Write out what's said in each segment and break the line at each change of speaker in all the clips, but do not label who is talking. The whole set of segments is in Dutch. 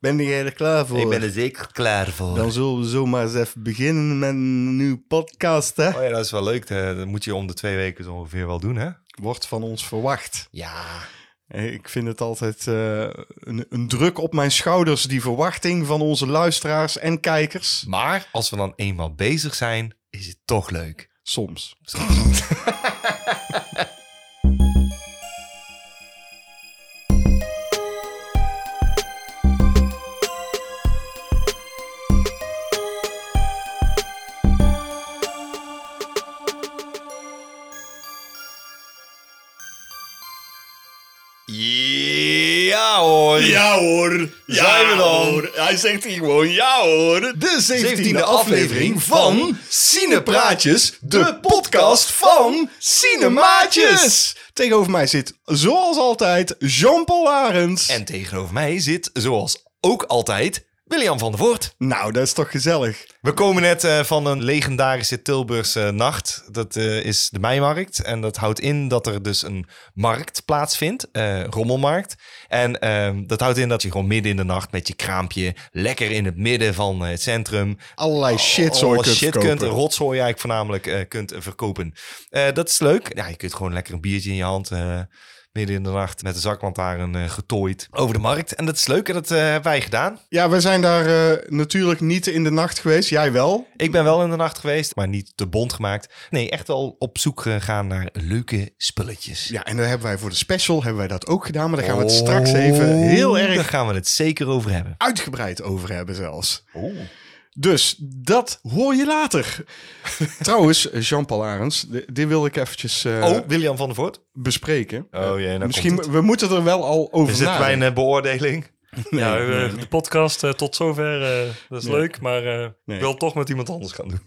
Ben jij er klaar voor?
Ik ben er zeker klaar voor.
Dan zullen we zomaar eens even beginnen met een nieuwe podcast, hè?
Oh ja, dat is wel leuk. hè. Dat moet je om de twee weken zo ongeveer wel doen, hè?
Wordt van ons verwacht.
Ja.
Ik vind het altijd eh, een, een druk op mijn schouders, die verwachting van onze luisteraars en kijkers.
Maar als we dan eenmaal bezig zijn, is het toch leuk.
Soms.
Ja hoor.
Ja hoor.
Zijn we dan?
Hij zegt hier gewoon ja hoor. De 17e, aflevering van Cinepraatjes, de podcast van Cinemaatjes. Tegenover mij zit, zoals altijd, Jean-Paul Arends.
En tegenover mij zit, zoals ook altijd, William van der Voort.
Nou, dat is toch gezellig.
We komen net eh, van een legendarische Tilburgse nacht. Dat eh, is de Meimarkt. En dat houdt in dat er dus een markt plaatsvindt, eh, rommelmarkt. En ehm, dat houdt in dat je gewoon midden in de nacht met je kraampje lekker in het midden van eh, het centrum
Allerlei shit zo
allemaal
kunt
Oh, shit
verkopen.
kunt, rotzooi eigenlijk voornamelijk eh, kunt verkopen. Eh, dat is leuk. Ja, je kunt gewoon lekker een biertje in je hand. eh, midden in de nacht met de zaklantaarn eh, getooid over de markt. En dat is leuk en dat eh, hebben wij gedaan.
Ja, we zijn daar eh, natuurlijk niet in de nacht geweest. Jij wel.
Ik ben wel in de nacht geweest, maar niet te bond gemaakt. Nee, echt wel op zoek gegaan naar leuke spulletjes.
Ja, en dan hebben wij voor de special hebben wij dat ook gedaan. Maar daar gaan we het straks even heel
Oh, Daar
erg
gaan we het zeker over hebben.
uitgebreid over hebben zelfs. Dus dat hoor je later. Trouwens, Jean-Paul Arends, di- dit wil ik eventjes eh,
Oh, William van der Voort.
bespreken.
Oh jee, nou
Misschien,
komt
we moeten er wel al over
Is het
nadenken.
mijn eh, beoordeling?
ja, eh, de podcast eh, tot zover. eh, dat is
Nee.
leuk, maar eh, ik
Nee.
wil toch met iemand anders gaan doen.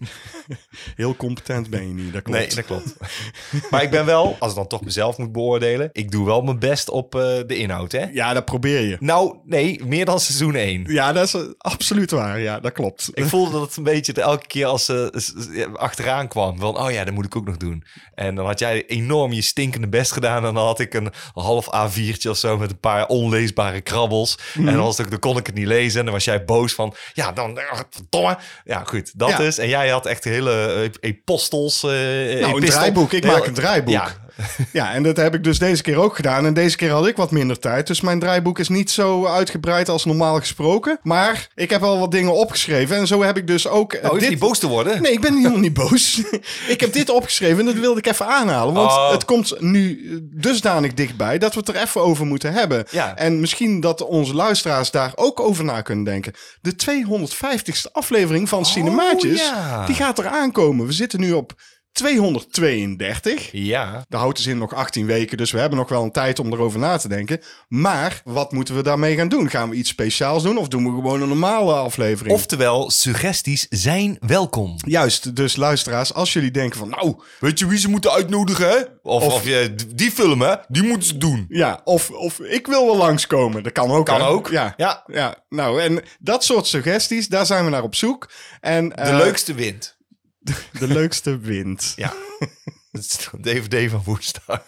Heel competent ben je niet, dat klopt.
Nee, dat klopt. maar ik ben wel, als ik dan toch mezelf moet beoordelen, ik doe wel mijn best op eh, de inhoud, hè?
Ja, dat probeer je.
Nou, nee, meer dan seizoen 1.
Ja, dat is eh, absoluut waar. Ja, dat klopt.
Ik voelde dat het een beetje de- elke keer als ze s- s- achteraan kwam. Van, oh ja, dat moet ik ook nog doen. En dan had jij enorm je stinkende best gedaan. En dan had ik een half A4'tje of zo met een paar onleesbare krabbels. En
Mhm.
dan, was het ook, dan kon ik het niet lezen. En dan was jij boos van, ja, dan, eh, verdomme. Ja, goed, dat
Ja.
is. En jij had echt hele eh, epostels. eh
Nou, een
epistel-
draaiboek. Ik
Heel-
maak een draaiboek.
Ja,
Ja, en dat heb ik dus deze keer ook gedaan. En deze keer had ik wat minder tijd. Dus mijn draaiboek is niet zo uitgebreid als normaal gesproken. Maar ik heb wel wat dingen opgeschreven. En zo heb ik dus ook. eh,
nou, hoef je
dit...
niet boos te worden.
Nee, ik ben helemaal niet boos. ik heb dit opgeschreven en dat wilde ik even aanhalen. Want
Oh.
het komt nu eh, dusdanig dichtbij dat we het er even over moeten hebben.
Ja.
En misschien dat onze luisteraars daar ook over na kunnen denken. De 250ste aflevering van Cinemaatjes,
Oh, ja.
die gaat er aankomen. We zitten nu op 232.
Ja.
Daar houdt de zin nog 18 weken, dus we hebben nog wel een tijd om erover na te denken. Maar wat moeten we daarmee gaan doen? Gaan we iets speciaals doen of doen we gewoon een normale aflevering?
Oftewel, suggesties zijn welkom.
Juist, dus luisteraars, als jullie denken van nou,
Weet je wie ze moeten uitnodigen, hè? Of, of, je, die film, hè? Die moeten ze doen.
ja, of, of ik wil wel langskomen, dat kan ook.
Kan
hè?
ook.
Ja. ja.
Ja,
nou en dat soort suggesties, daar zijn we naar op zoek. En, eh,
de leukste wint.
de leukste wint.
Ja. Dat is de DVD van Woensdag.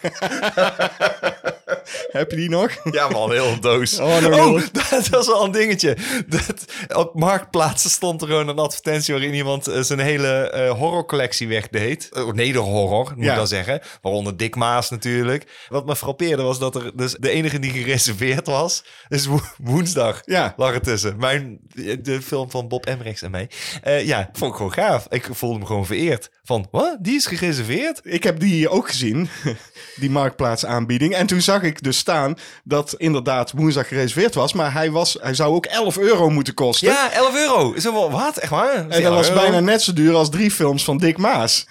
Heb je die nog?
Ja, man, heel een doos.
Oh, nog heel-
dat was wel een dingetje. Dat, op marktplaatsen stond er gewoon een advertentie waarin iemand eh, zijn hele eh, horrorcollectie wegdeed. Eh, Nederhorror, moet
Ja.
ik dan zeggen. Waaronder Dick Maas natuurlijk. Wat me frappeerde was dat er dus de enige die gereserveerd was, is wo- woensdag.
Ja.
lag er tussen. Mijn, eh, de film van Bob Emmerichs en mij. Eh, ja, vond ik gewoon gaaf. Ik voelde me gewoon vereerd. Van, wat? Die is gereserveerd?
Ik heb die ook gezien, die marktplaatsaanbieding. En toen zag ik dus staan dat inderdaad woensdag gereserveerd was. Maar hij, was, hij zou ook 11 euro moeten kosten.
Ja, 11 euro. Is dat wel wat? Echt waar?
en Eh, dat was bijna net zo duur als drie films van Dick Maas.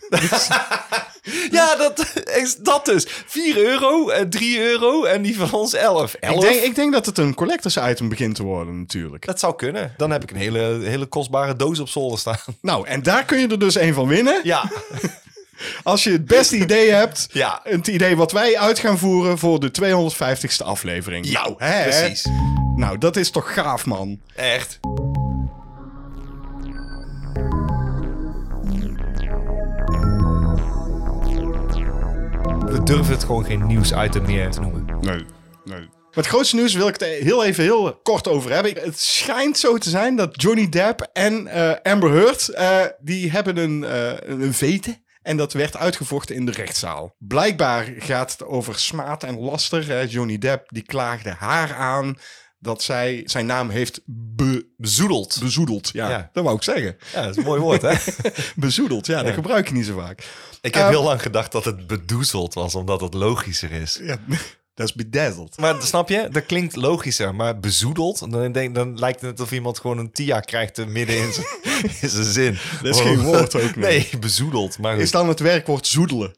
Ja, dat is dat dus. 4 euro, eh, 3 euro en die van ons 11.
Ik
11?
denk, ik denk dat het een collectors item begint te worden natuurlijk.
Dat zou kunnen. Dan heb ik een hele, hele kostbare doos op zolder staan.
Nou, en daar kun je er dus een van winnen.
Ja,
Als je het beste idee hebt.
Ja.
Het idee wat wij uit gaan voeren voor de 250ste aflevering. nou, hè?
precies.
Nou, dat is toch gaaf, man.
Echt. We durven het gewoon geen nieuwsitem meer te noemen.
Nee, nee. Maar het grootste nieuws wil ik het heel even heel kort over hebben. Het schijnt zo te zijn dat Johnny Depp en eh, Amber Heard, eh, die hebben een, eh een vete. En dat werd uitgevochten in de rechtszaal. Blijkbaar gaat het over smaad en laster. hè. Johnny Depp die klaagde haar aan dat zij zijn naam heeft be-
Bezoedeld.
bezoedeld. Ja,
Ja.
dat wou ik zeggen.
Ja, dat is een mooi woord, hè?
Bezoedeld, ja, dat
Ja.
gebruik je niet zo vaak.
Ik heb
Eh,
heel lang gedacht dat het bedoezeld was, omdat het logischer is.
Ja, dat is bedazzled.
Maar snap je? Dat klinkt logischer, maar bezoedeld, dan, denk, dan lijkt het alsof iemand gewoon een tia krijgt er midden in zijn, in zijn zin.
Dat is geen woord ook, nee.
Nee, bezoedeld. Maar goed.
Is dan het werkwoord zoedelen.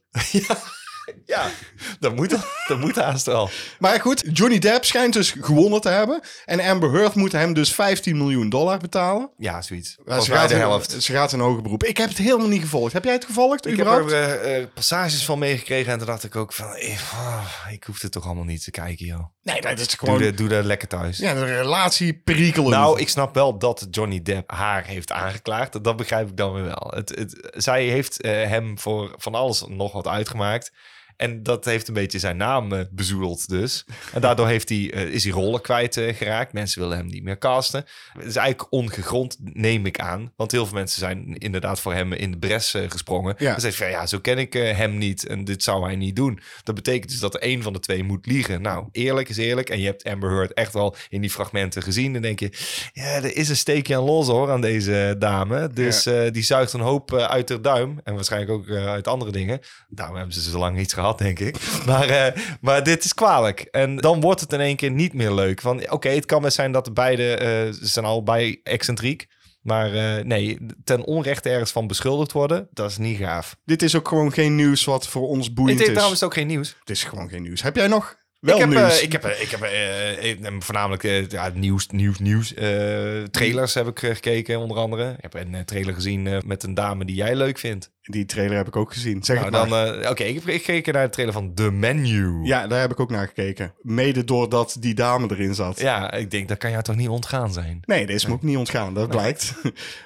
Ja, dat moet, dat moet haast wel.
Maar goed, Johnny Depp schijnt dus gewonnen te hebben. En Amber Heard moet hem dus 15 miljoen dollar betalen.
Ja, zoiets.
Maar
Als wij de
in-
helft.
ze gaat in hoger beroep. Ik heb het helemaal niet gevolgd. Heb jij het gevolgd?
Ik heb er
überhaupt?
eh, eh, passages van meegekregen en toen dacht ik ook van, eh, ah, ik hoef dit toch allemaal niet te kijken, joh.
Nee, dat is
eh, Doe
gewoon...
dat, doe dat lekker thuis.
Ja, de relatie perikelen.
Nou, ik snap wel dat Johnny Depp haar heeft aangeklaagd. Dat begrijp ik dan weer wel. Het, het, zij heeft eh, hem voor van alles nog wat uitgemaakt. En dat heeft een beetje zijn naam eh, bezoedeld dus. En daardoor heeft hij, eh, is hij rollen kwijt eh, geraakt. Mensen willen hem niet meer casten. Het is eigenlijk ongegrond, neem ik aan. Want heel veel mensen zijn inderdaad voor hem in de bres eh, gesprongen.
Ja.
Dan zegt hij van ja, zo ken ik eh, hem niet en dit zou hij niet doen. Dat betekent dus dat er één van de twee moet liegen. Nou, eerlijk is eerlijk. En je hebt Amber Heard echt al in die fragmenten gezien. Dan denk je, ja, er is een steekje aan los hoor aan deze dame. Dus eh, die zuigt een hoop eh, uit haar duim. En waarschijnlijk ook eh, uit andere dingen. Daarom hebben ze zo lang niets gehad, denk ik. Maar, eh, maar dit is kwalijk. En dan wordt het in één keer niet meer leuk. Van oké, het kan best zijn dat de beide, eh, ze zijn allebei excentriek. Maar eh, nee, ten onrechte ergens van beschuldigd worden, dat is niet gaaf.
Dit is ook gewoon geen nieuws wat voor ons
Ik
boeiend
deed
is.
trouwens ook geen nieuws.
Het is gewoon geen nieuws. Heb jij nog wel
ik heb,
nieuws?
eh, ik heb, eh, ik heb eh, eh, eh, voornamelijk eh, ja, nieuws, nieuws, nieuws. eh, trailers heb ik eh, gekeken, onder andere. Ik heb een eh, trailer gezien eh, met een dame die jij leuk vindt.
Die trailer heb ik ook gezien. Zeg
Nou,
het maar.
dan, eh, Oké, ik heb gekeken naar de trailer van The Menu.
Ja, daar heb ik ook naar gekeken. Mede doordat die dame erin zat.
Ja, ik denk, dat kan jou toch niet ontgaan zijn?
Nee, deze moet ik niet ontgaan. Dat blijkt.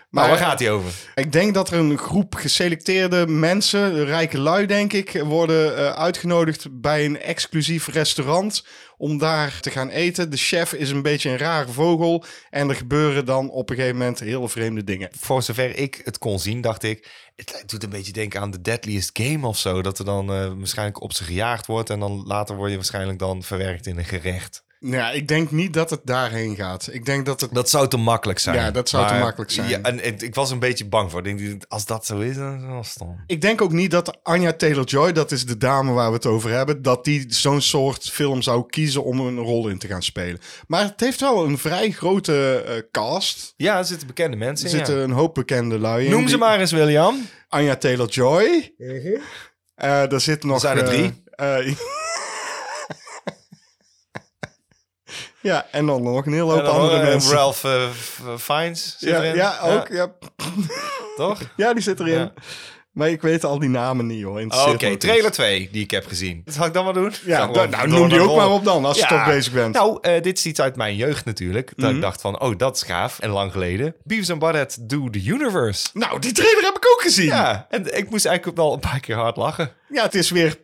Maar waar gaat hij over?
Ik denk dat er een groep geselecteerde mensen, rijke lui denk ik, worden eh, uitgenodigd bij een exclusief restaurant om daar te gaan eten. De chef is een beetje een rare vogel en er gebeuren dan op een gegeven moment hele vreemde dingen.
Voor zover ik het kon zien, dacht ik... Het doet een beetje denken aan The Deadliest Game of zo. Dat er dan eh, waarschijnlijk op ze gejaagd wordt... en dan later word je waarschijnlijk dan verwerkt in een gerecht.
Nou, ja, ik denk niet dat het daarheen gaat. Ik denk dat het...
Dat zou te makkelijk zijn.
Ja, dat zou te makkelijk zijn.
Ja, en, en ik was een beetje bang voor. Ik Denk, als dat zo is, dan is het wel stom.
Ik denk ook niet dat Anya Taylor-Joy, dat is de dame waar we het over hebben, dat die zo'n soort film zou kiezen om een rol in te gaan spelen. Maar het heeft wel een vrij grote eh, cast.
Ja, er zitten bekende mensen
Er
in. ja.
zitten een hoop bekende lui in.
Noem ze
Die-
maar eens, William.
Anja Taylor-Joy. Eh daar zit nog...
zijn er
eh,
drie.
eh, ja, en dan nog een hele hoop
En dan,
andere
eh,
mensen.
Ralph eh, F- Fiennes zit
ja,
erin.
ja, ook.
Ja,
Ja.
toch?
ja, die zit erin.
Ja.
Maar ik weet al die namen niet, hoor.
Oké,
Interesseert me ook
trailer
niet.
2 die ik heb gezien. Dat zal ik dan maar doen?
dus. Ja,
Ga gewoon
dan- nou,
door
noem die
naar
ook
rollen.
maar op dan, als je
Ja.
toch bezig bent. Mhm.
Nou, eh, dit is iets uit mijn jeugd natuurlijk. Dat ik dacht van, oh, dat is gaaf. En lang geleden. Beavis and Butthead Do the Universe.
Nou, die trailer heb ik ook gezien. Ja,
Ja, en ik moest eigenlijk wel een paar keer hard lachen.
het is weer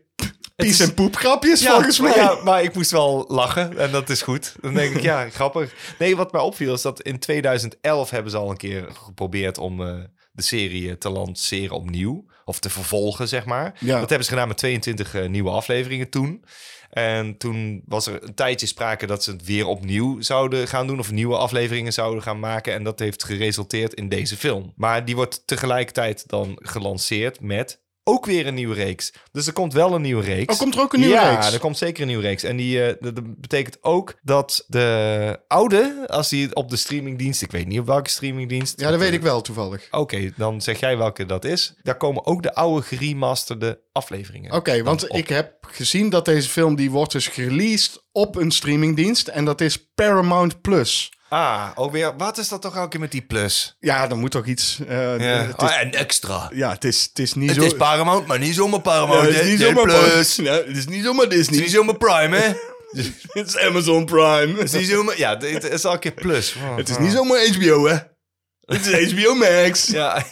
pies
is-
en poep grapjes,
Ja,
volgens mij.
maar, ja, maar ik moest wel lachen en dat is goed. Dan denk ik, ja, grappig. Nee, wat mij opviel is dat in 2011 hebben ze al een keer geprobeerd om eh, de serie te lanceren opnieuw. Of te vervolgen, zeg maar.
Ja.
Dat hebben ze gedaan met 22 eh, nieuwe afleveringen toen. En toen was er een tijdje sprake dat ze het weer opnieuw zouden gaan doen. Of nieuwe afleveringen zouden gaan maken. En dat heeft geresulteerd in deze film. Maar die wordt tegelijkertijd dan gelanceerd met ook weer een nieuwe reeks. Dus er komt wel een nieuwe reeks.
Oh, komt er ook een nieuwe
ja,
reeks?
er komt zeker een nieuwe reeks. En die, eh, dat- dat betekent ook dat de oude, als die op de streamingdienst... Ik weet niet op welke streamingdienst. Eh,
Ja, dat weet ik wel toevallig.
Oké, dan zeg jij welke dat is. Daar komen ook de oude geremasterde afleveringen.
Oké, want
op.
ik heb gezien dat deze film, die wordt dus released op een streamingdienst. En dat is Paramount+. Plus.
Ah, ook weer. Wat is dat toch elke keer met die plus?
Ja, dan moet toch iets... eh,
Ja, Oh, Ah,
Het is,
en extra.
ja, het is, het is niet zo...
Paramount, maar niet zomaar Paramount.
Ja, het is
hè?
niet
Nee,
zomaar
plus.
Plus. Ja, het is niet zomaar
Het
Disney.
is niet zomaar Prime, hè?
Het is Amazon Prime.
Het is niet zomaar... Ja, het is elke keer plus.
Het is niet zomaar HBO, hè? Het is HBO Max.
Ja,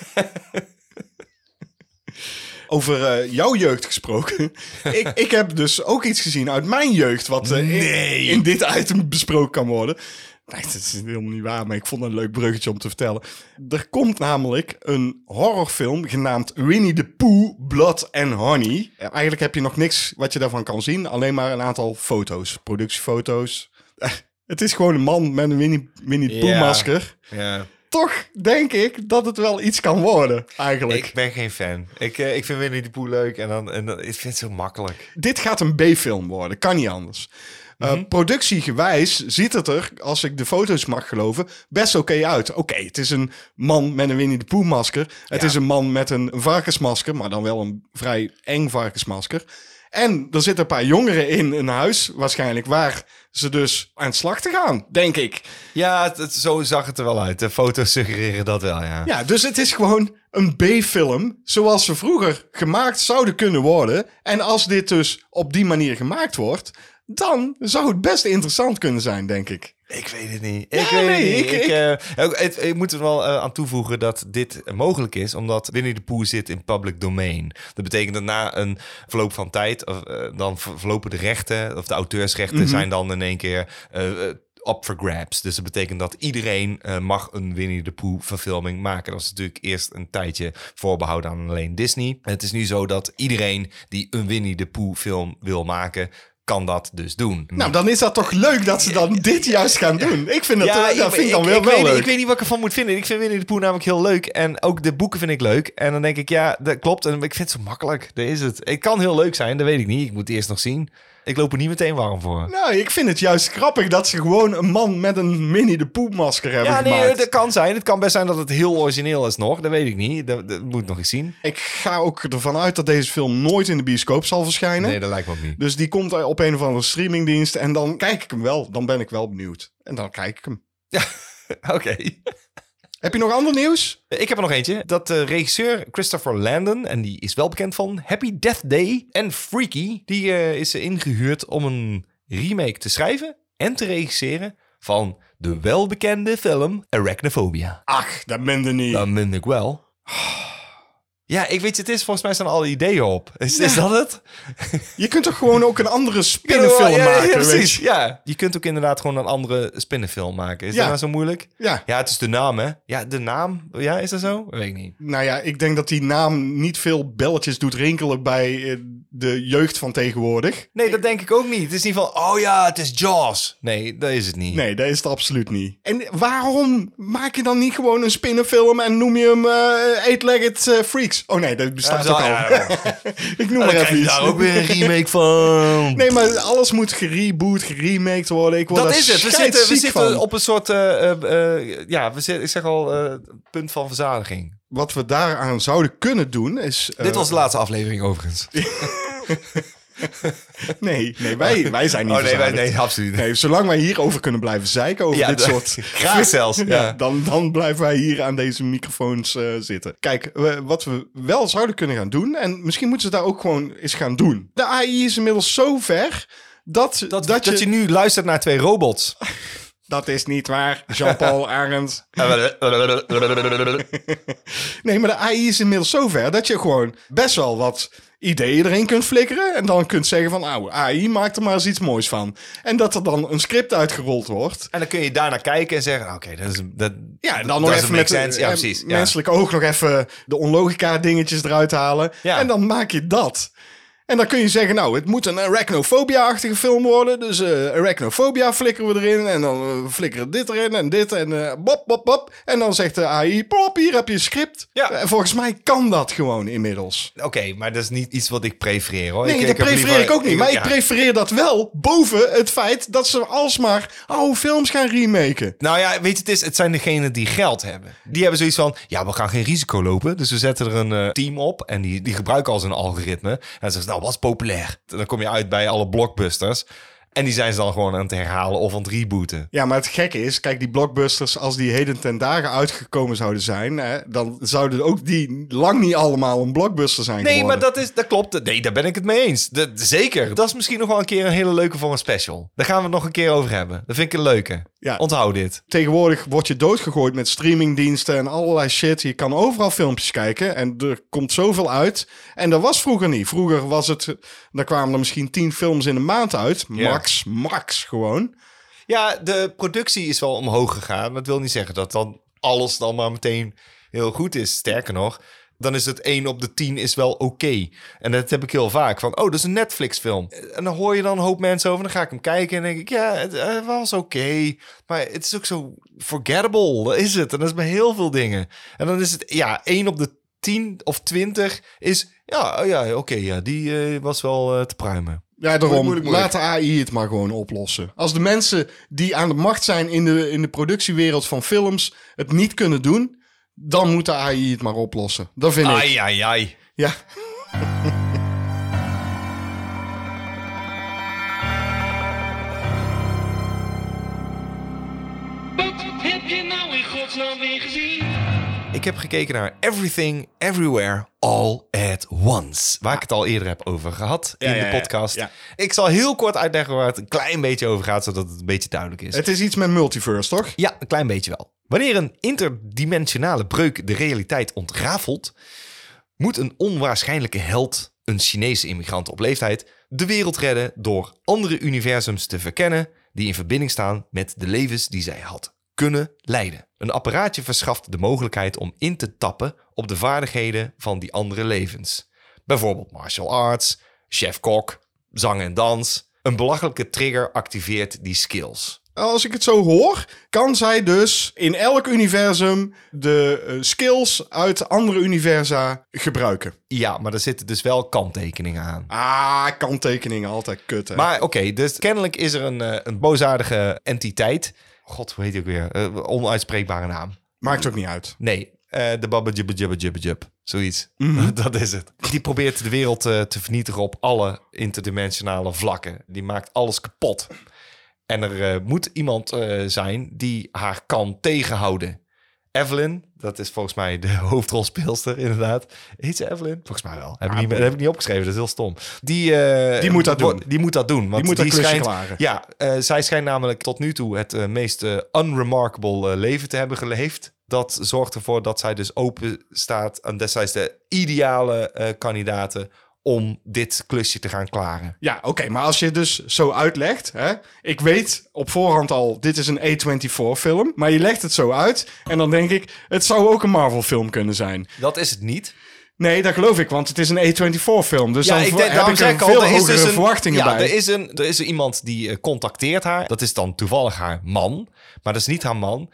Over eh, jouw jeugd gesproken. ik, ik heb dus ook iets gezien uit mijn jeugd. wat eh, in- in, dit item besproken kan worden. Nee, dat is helemaal niet waar, maar ik vond het een leuk bruggetje om te vertellen. Er komt namelijk een horrorfilm genaamd Winnie the Pooh, Blood and Honey. Eh, Eigenlijk heb je nog niks wat je daarvan kan zien, alleen maar een aantal foto's, productiefoto's. Eh, Het is gewoon een man met een Winnie, Winnie the
Ja.
Pooh-masker.
Ja.
Toch denk ik dat het wel iets kan worden, eigenlijk.
Ik ben geen fan. Ik, eh, ik vind Winnie de Pooh leuk en, dan, en dan, ik vind het zo makkelijk.
dit gaat een B-film worden, kan niet anders. Eh, Productiegewijs ziet het er, als ik de foto's mag geloven, best oké uit. Oké, het is een man met een Winnie de Pooh masker. Het
Ja.
is een man met een varkensmasker, maar dan wel een vrij eng varkensmasker. En er zitten een paar jongeren in een huis, waarschijnlijk, waar ze dus aan het slachten gaan, denk ik.
Ja, het, het- zo zag het er wel uit. De foto's suggereren dat wel, ja.
Ja, dus het is gewoon een B-film, zoals ze vroeger gemaakt zouden kunnen worden. En als dit dus op die manier gemaakt wordt, dan zou het best interessant kunnen zijn, denk ik.
Ik weet het niet. Ik
Ja,
weet
nee,
het niet.
ik-
Ik, eh, ook- het- ik moet er wel eh, aan toevoegen dat dit mogelijk is, omdat Winnie de Pooh zit in public domain. Dat betekent dat na een verloop van tijd, of, eh, dan ver- verlopen de rechten, of de auteursrechten
Mhm.
zijn dan in één keer eh, eh, up for grabs. Dus dat betekent dat iedereen eh, mag een Winnie de Pooh verfilming maken. Dat is natuurlijk eerst een tijdje voorbehouden aan alleen Disney. Het is nu zo dat iedereen die een Winnie de Pooh film wil maken, kan dat dus doen.
Nou, dan is dat toch leuk dat ze dan dit juist gaan doen. Ik vind dat, eh, dat vind ik dan wel, wel
weet, niet-
leuk.
Ik weet niet wat ik ervan moet vinden. Ik vind Winnie de Pooh namelijk heel leuk. En ook de boeken vind ik leuk. En dan denk ik, ja, dat klopt. En ik vind het zo makkelijk. Dat is het. Het kan heel leuk zijn, dat weet ik niet. Ik moet het eerst nog zien. Ik loop er niet meteen warm voor.
Nou, ik vind het juist grappig dat ze gewoon een man met een Winnie de Pooh masker hebben
Ja, nee,
gemaakt.
dat kan zijn. Het kan best zijn dat het heel origineel is nog. Dat weet ik niet. Dat, dat moet ik nog eens zien.
Ik ga ook ervan uit dat deze film nooit in de bioscoop zal verschijnen.
Nee, dat lijkt me ook niet.
Dus die komt op een of andere streamingdienst en dan kijk ik hem wel. Dan ben ik wel benieuwd. En dan kijk ik hem.
Oké.
Heb je nog ander nieuws?
Eh, Ik heb er nog eentje. Dat de regisseur Christopher Landon, en die is wel bekend van Happy Death Day en Freaky, die eh, is ingehuurd om een remake te schrijven en te regisseren van de welbekende film Arachnophobia.
Ach, dat ben je niet.
Dat min ik wel. Ja, ik weet het is. Volgens mij staan alle ideeën op. Is, is dat het?
Je kunt toch gewoon ook een andere spinnenfilm
Ja, ja,
maken?
Ja,
weet
precies.
je?
Ja. Je kunt ook inderdaad gewoon een andere spinnenfilm maken. Is
Ja.
dat nou zo moeilijk?
Ja.
Ja, het is de naam, hè? Ja, de naam. Ja, is dat zo? Weet ik niet.
Nou ja, ik denk dat die naam niet veel belletjes doet rinkelen bij eh, de jeugd van tegenwoordig.
Nee, dat denk ik ook niet. Het is niet van, oh ja, het is Jaws. Nee, dat is het niet.
Nee, dat is het absoluut niet. En waarom maak je dan niet gewoon een spinnenfilm en noem je hem eh Eight-Legged eh, Freaks? Oh nee, dat
Ja,
bestaat
zo-
ook al.
ja, ja.
ik noem
Dan
maar
krijg
even
je
iets.
daar ook weer een remake van.
Nee, maar alles moet gereboot, geremaked worden. Ik word
dat
daar
is het. We
scheidsziek
zitten, we
van.
zitten op een soort, eh, eh, eh, ja, we zitten, ik zeg al, eh, punt van verzadiging.
Wat we daaraan zouden kunnen doen is... eh,
Dit was de laatste aflevering overigens.
Nee, nee wij, wij zijn niet
oh nee, wij,
verzadigd.
nee, absoluut niet.
Nee, zolang wij hierover kunnen blijven zeiken, over
Ja,
dit
dat-
soort...
graag zelfs, ja.
dan, dan blijven wij hier aan deze microfoons eh, zitten. Kijk, we- wat we wel zouden kunnen gaan doen... en misschien moeten ze daar ook gewoon eens gaan doen. De AI is inmiddels zo ver... Dat, dat,
Dat, je... nu luistert naar twee robots.
dat is niet waar, Jean-Paul Arendt. Nee, maar de AI is inmiddels zover dat je gewoon best wel wat ideeën erin kunt flikkeren. En dan kunt zeggen van, nou, AI, maak er maar eens iets moois van. En dat er dan een script uitgerold wordt.
en dan kun je daarna kijken en zeggen, oké, dat is... Dat,
Ja, en dan nog even met
sense. Ja,
eh,
precies. Ja.
menselijk oog nog even de onlogica dingetjes eruit halen.
Ja.
En dan maak je dat. En dan kun je zeggen, nou, het moet een arachnophobia-achtige film worden. Dus eh arachnophobia flikkeren we erin. En dan eh, flikkeren we dit erin en dit. En eh bop, bop, bop. En dan zegt de AI, pop, hier heb je een script.
Ja.
Eh, volgens mij kan dat gewoon inmiddels.
Oké, maar dat is niet iets wat ik prefereer, hoor.
Nee,
ik,
dat
heb
prefereer
liever-
ik ook niet. Maar
ja.
ik prefereer dat wel boven het feit dat ze alsmaar oude films gaan remaken.
Nou ja, weet je, het, is, het zijn degenen die geld hebben. Die hebben zoiets van, ja, we gaan geen risico lopen. Dus we zetten er een eh, team op en die, die gebruiken al zo'n algoritme. En dan zeggen ze, nou, wat is populair? Dan kom je uit bij alle blockbusters. En die zijn ze dan gewoon aan het herhalen of aan het rebooten.
Ja, maar het gekke is, kijk, die blockbusters, als die heden ten dagen uitgekomen zouden zijn, hè, dan zouden ook die lang niet allemaal een blockbuster zijn
Nee, maar
geworden.
dat, is, dat klopt. Nee, daar ben ik het mee eens. Dat- zeker. Dat is misschien nog wel een keer een hele leuke voor een special. Daar gaan we het nog een keer over hebben. Dat vind ik een leuke.
Ja.
Onthoud dit.
Tegenwoordig word je doodgegooid met streamingdiensten en allerlei shit. Je kan overal filmpjes kijken en er komt zoveel uit. En dat was vroeger niet. Vroeger was het, daar kwamen er misschien tien films in de maand uit.
Ja.
Max, max gewoon.
Ja, de productie is wel omhoog gegaan. Maar het wil niet zeggen dat dan alles dan maar meteen heel goed is. Sterker nog, dan is het 1 op de 10 is wel oké. En dat heb ik heel vaak. Van, oh, dat is een Netflix film. En dan hoor je dan een hoop mensen over. Dan ga ik hem kijken en denk ik, ja, het eh, was oké. Maar het is ook zo forgettable. Dat is het. En dat is bij heel veel dingen. En dan is het, ja, 1 op de 10 of 20 is... Ja, oh ja oké, ja, die eh, was wel eh, te pruimen.
Ja, daarom.
Moeilijk, moeilijk, moeilijk.
Laat de AI het maar gewoon oplossen. Als de mensen die aan de macht zijn in de, in de productiewereld van films het niet kunnen doen, dan moet de AI het maar oplossen. Dat vind ik.
Ai, ai, ai.
Ja.
Wat heb je nou in godsnaam weer gezien?
Ik heb gekeken naar Everything, Everywhere, All at Once. Waar ik het al eerder heb over gehad in
Ja, ja,
de
ja,
podcast.
ja.
Ik zal heel kort uitleggen waar het een klein beetje over gaat, zodat het een beetje duidelijk is.
Het is iets met multiverse, toch?
Ja, een klein beetje wel. Wanneer een interdimensionale breuk de realiteit ontrafelt, moet een onwaarschijnlijke held, een Chinese immigrant op leeftijd, de wereld redden door andere universums te verkennen die in verbinding staan met de levens die zij had kunnen leiden. Een apparaatje verschaft de mogelijkheid om in te tappen op de vaardigheden van die andere levens. Bijvoorbeeld martial arts, chef-kok, zang en dans. Een belachelijke trigger activeert die skills.
Als ik het zo hoor, kan zij dus in elk universum de eh, skills uit andere universa gebruiken.
Ja, maar er zitten dus wel kanttekeningen aan.
Ah, eh. kanttekeningen, altijd kut, hè?
Maar oké, dus kennelijk is er een, eh, een boosaardige entiteit. God, hoe heet die ook weer? Eh, onuitspreekbare naam.
Maakt ook niet uit.
Nee, eh, de babba jibba jibba jibba jib. Zoiets.
Mhm.
Dat is het. Die probeert de wereld eh, te vernietigen op alle interdimensionale vlakken. Die maakt alles kapot. En er eh, moet iemand eh, zijn die haar kan tegenhouden. Evelyn, dat is volgens mij de hoofdrolspeelster, inderdaad. Heet ze Evelyn? Volgens mij wel. Heb ik niet, dat heb ik niet opgeschreven, dat is heel stom. Die, eh,
Ah, Die moet dat
wo-
doen.
Die moet dat doen. Want
moet dat klusje
schijnt,
klaren.
Ja, eh, zij schijnt namelijk tot nu toe het eh, meest eh, unremarkable eh, leven te hebben geleefd. Dat zorgt ervoor dat zij dus open staat en destijds de ideale eh, kandidaten om dit klusje te gaan klaren.
Ja, oké, maar als je het dus zo uitlegt, hè, ik weet op voorhand al, dit is een A24-film, maar je legt het zo uit en dan denk ik, het zou ook een Marvel-film kunnen zijn.
Dat is het niet.
Nee, dat geloof ik, want het is een A24-film, dus dan
denk-
heb
daarom
ik
zeg
er
ik al,
veel
er
hogere
dus een-
verwachtingen
ja,
bij.
Er is, een, er is iemand die eh, contacteert haar. Dat is dan toevallig haar man, maar dat is niet haar man.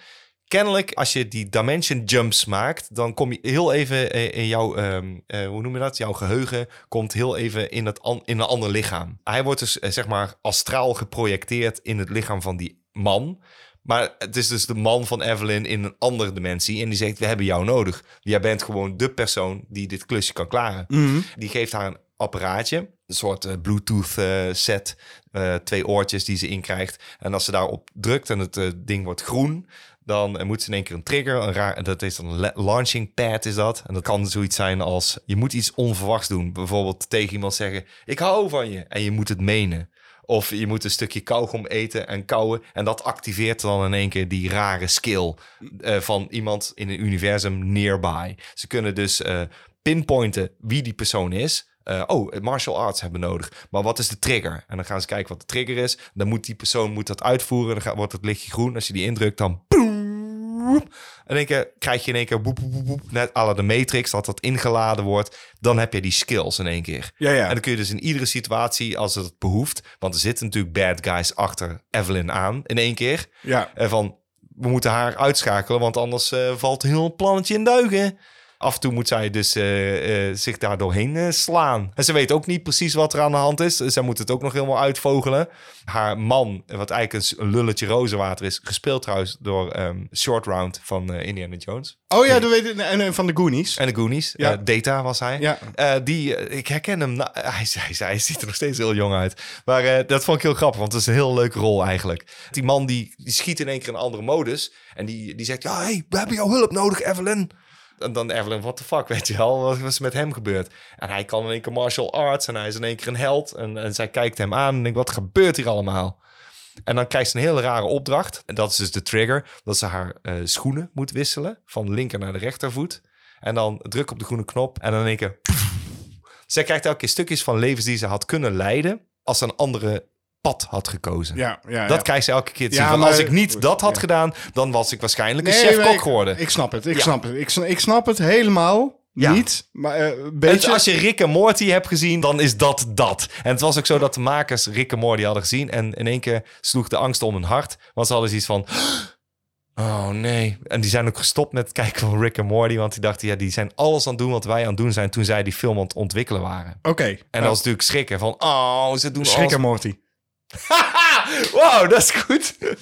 Kennelijk, als je die dimension jumps maakt, dan kom je heel even eh, in jouw, ehm, eh, hoe noem je dat? Jouw geheugen komt heel even in, het an- in een ander lichaam. Hij wordt dus, eh, zeg maar, astraal geprojecteerd in het lichaam van die man. Maar het is dus de man van Evelyn in een andere dimensie. En die zegt, we hebben jou nodig. Jij bent gewoon de persoon die dit klusje kan klaren.
Mhm.
Die geeft haar een apparaatje, een soort eh, Bluetooth eh, set, eh, twee oortjes die ze inkrijgt. En als ze daarop drukt en het eh, ding wordt groen, dan eh, moet ze in één keer een trigger, een raar, dat is dan een la- launching pad is dat. En dat kan zoiets zijn als, je moet iets onverwachts doen. Bijvoorbeeld tegen iemand zeggen, ik hou van je. En je moet het menen. Of je moet een stukje kauwgom eten en kauwen. En dat activeert dan in één keer die rare skill eh, van iemand in een universum nearby. Ze kunnen dus eh, pinpointen wie die persoon is. Eh, oh, martial arts hebben we nodig. Maar wat is de trigger? En dan gaan ze kijken wat de trigger is. Dan moet die persoon moet dat uitvoeren. Dan gaat, wordt het lichtje groen. Als je die indrukt, dan boep. En in één keer krijg je in één keer boep, boep, boep, boep, net à la de Matrix, dat dat ingeladen wordt. Dan heb je die skills in één keer.
Ja, ja.
En dan kun je dus in iedere situatie, als het behoeft, want er zitten natuurlijk bad guys achter Evelyn aan in één keer.
ja.
En van, we moeten haar uitschakelen, want anders eh, valt heel het plannetje in duigen. Af en toe moet zij dus eh, eh, zich daar doorheen eh, slaan. En ze weet ook niet precies wat er aan de hand is. Zij moet het ook nog helemaal uitvogelen. Haar man, wat eigenlijk een s- een lulletje rozenwater is... gespeeld trouwens door ehm, Short Round van eh, Indiana Jones.
Oh ja, dat weet ik, en, en van de Goonies.
En de Goonies.
Ja.
Eh, Data was hij.
Ja.
Eh, die, eh, ik herken hem. na- hij, is- hij, is- hij ziet er nog steeds heel jong uit. Maar eh, dat vond ik heel grappig, want het is een heel leuke rol eigenlijk. Die man die, die schiet in één keer een andere modus. En die, die zegt, ja, hey, we hebben jouw hulp nodig, Evelyn. En dan Evelyn, what the fuck, weet je wel. Wat is er met hem gebeurd? En hij kan in één keer martial arts en hij is in één keer een held. En, en zij kijkt hem aan en denkt, wat gebeurt hier allemaal? En dan krijgt ze een hele rare opdracht. En dat is dus de trigger. Dat ze haar eh, schoenen moet wisselen. Van de linker naar de rechtervoet. En dan druk op de groene knop. En dan in één keer... Zij krijgt elke keer stukjes van levens die ze had kunnen leiden. Als ze een andere pad had gekozen.
Ja, ja,
Dat
ja.
krijgt ze elke keer te
Ja,
zien. Van,
maar-
als ik niet dat had
Ja.
gedaan, dan was ik waarschijnlijk een
Nee, maar
chef-kok
ik-
geworden.
Ik snap het, ik
Ja.
snap het. Ik, sn- ik snap het helemaal
Ja.
niet. Maar eh, een
En
beetje...
als je Rick en Morty hebt gezien, dan is dat dat. En het was ook zo dat de makers Rick en Morty hadden gezien. En in één keer sloeg de angst om hun hart. Want ze hadden zoiets van... Oh nee. En die zijn ook gestopt met het kijken van Rick en Morty. Want die dachten, ja, die zijn alles aan het doen wat wij aan het doen zijn... toen zij die film aan het ontwikkelen waren.
Oké.
En dat was natuurlijk schrikken van... Oh, ze doen
Schrikker Morty.
alles... Wow, dat is goed.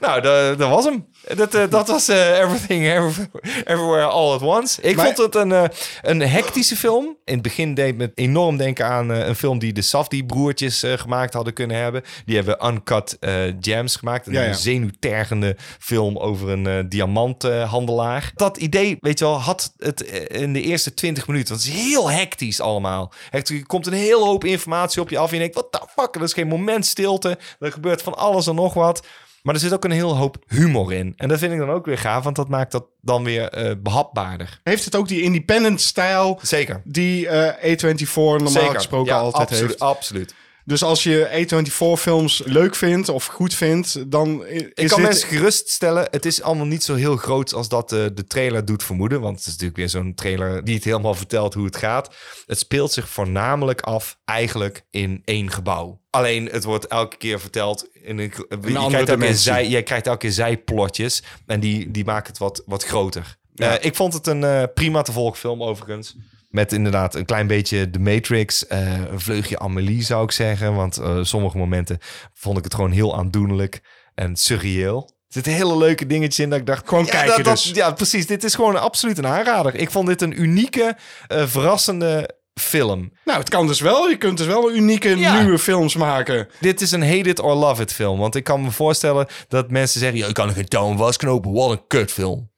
nou, dat, dat was hem. Dat, eh, dat was eh, Everything Every- Everywhere All At Once. Ik
Maar-
vond het een, eh, een hectische film. In het begin deed me enorm denken aan eh, een film die de Safdie-broertjes eh, gemaakt hadden kunnen hebben. Die hebben Uncut eh, Gems gemaakt. Een
Ja, ja.
zenuwtergende film over een eh, diamanthandelaar. dat idee, weet je wel, had het eh, in de eerste 20 minuten. Want het is heel hectisch allemaal. Echt, er komt een hele hoop informatie op je af. En je denkt, wat the fuck? Er is geen moment stilte. Er gebeurt van alles en nog wat. Maar er zit ook een heel hoop humor in. En dat vind ik dan ook weer gaaf, want dat maakt dat dan weer eh, behapbaarder.
Heeft het ook die independent-stijl
Zeker.
die eh, A24 normaal
Zeker.
gesproken
Ja,
altijd
absoluut,
heeft?
Absoluut.
Dus als je A24-films leuk vindt of goed vindt, dan i- is
Ik kan
dit...
mensen geruststellen, het is allemaal niet zo heel groot als dat eh, de trailer doet vermoeden. Want het is natuurlijk weer zo'n trailer die het helemaal vertelt hoe het gaat. Het speelt zich voornamelijk af eigenlijk in één gebouw. Alleen het wordt elke keer verteld in een... je,
andere
krijgt elke keer
dimensie.
zij, je krijgt elke keer zijplotjes en die, die maken het wat, wat groter.
Ja.
Eh, ik vond het een eh, prima te volgen film overigens. Met inderdaad een klein beetje The Matrix, eh, een vleugje Amelie zou ik zeggen. Want eh, sommige momenten vond ik het gewoon heel aandoenlijk en surreëel. Er zitten hele leuke dingetjes in dat ik dacht...
Gewoon
ja,
kijken
dat- dat-
dus.
Ja, precies. Dit is gewoon absoluut een aanrader. Ik vond dit een unieke, eh, verrassende film.
Nou, het kan dus wel. Je kunt dus wel unieke
Ja.
nieuwe films maken.
Dit is een hate it or love it film. Want ik kan me voorstellen dat mensen zeggen... "Ja, ik kan er geen touw was knopen. Wat een kutfilm.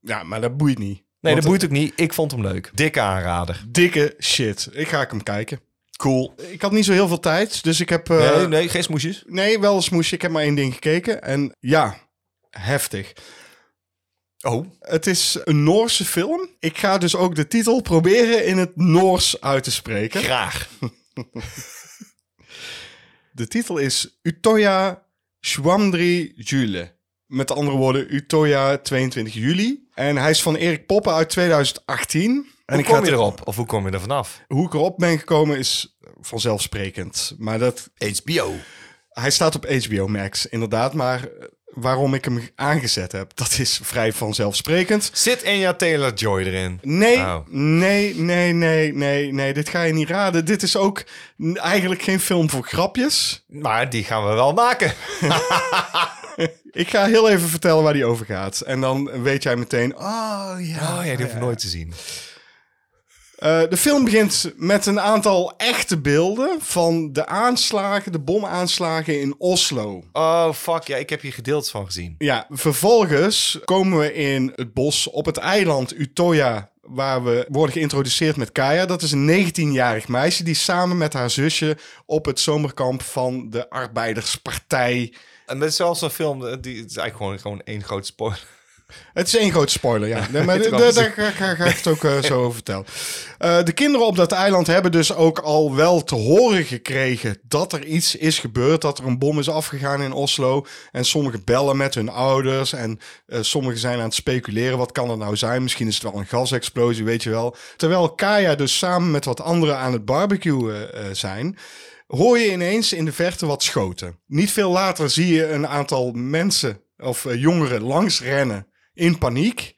Ja, maar dat boeit niet.
Nee,
Want eh,
dat boeit ook niet. Ik vond hem leuk. Dikke aanrader.
Dikke shit. Ik ga hem kijken.
Cool.
Ik had niet zo heel veel tijd, dus ik heb... eh,
nee,
nee,
nee, geen smoesjes.
wel een smoesje. Ik heb maar één ding gekeken. En ja, heftig.
Oh.
Het is een Noorse film. Ik ga dus ook de titel proberen in het Noors uit te spreken.
Graag.
De titel is Utoya Schwamdri Jule. Met andere woorden, Utoya 22 juli. En hij is van Erik Poppen uit 2018. en
hoe
ik ga
kom je
het-
erop? Of hoe kom je er vanaf?
Hoe ik erop ben gekomen is vanzelfsprekend. Maar dat,
HBO.
hij staat op HBO Max, inderdaad. Maar eh, waarom ik hem aangezet heb, dat is vrij vanzelfsprekend.
Zit Enya Taylor-Joy erin?
Nee,
Oh.
nee, nee, nee, nee, nee. Dit ga je niet raden. Dit is ook n- eigenlijk geen film voor grapjes.
Maar die gaan we wel maken.
Ik ga heel even vertellen waar die over gaat. En dan weet jij meteen. Oh ja.
Oh ja, die hoef ik nooit te zien.
Eh, de film begint met een aantal echte beelden van de aanslagen, de bomaanslagen in Oslo.
Oh fuck, ja, ik heb hier gedeeltes van gezien.
Ja, vervolgens komen we in het bos op het eiland Utoya. Waar we worden geïntroduceerd met Kaya. Dat is een 19-jarig meisje die samen met haar zusje op het zomerkamp van de Arbeiderspartij.
En dat is zelfs een film, eh, die het is eigenlijk gewoon, gewoon één groot spoiler.
Het is één grote spoiler, ja. Nee, maar
Het
d-
was-
d- daar ga, ga- ga ik het ook eh, zo over vertellen. Eh, de kinderen op dat eiland hebben dus ook al wel te horen gekregen dat er iets is gebeurd. Dat er een bom is afgegaan in Oslo. En sommigen bellen met hun ouders. En eh, sommigen zijn aan het speculeren. Wat kan er nou zijn? Misschien is het wel een gasexplosie, weet je wel. Terwijl Kaya dus samen met wat anderen aan het barbecuen eh, zijn hoor je ineens in de verte wat schoten. Niet veel later zie je een aantal mensen of eh, jongeren langs rennen in paniek.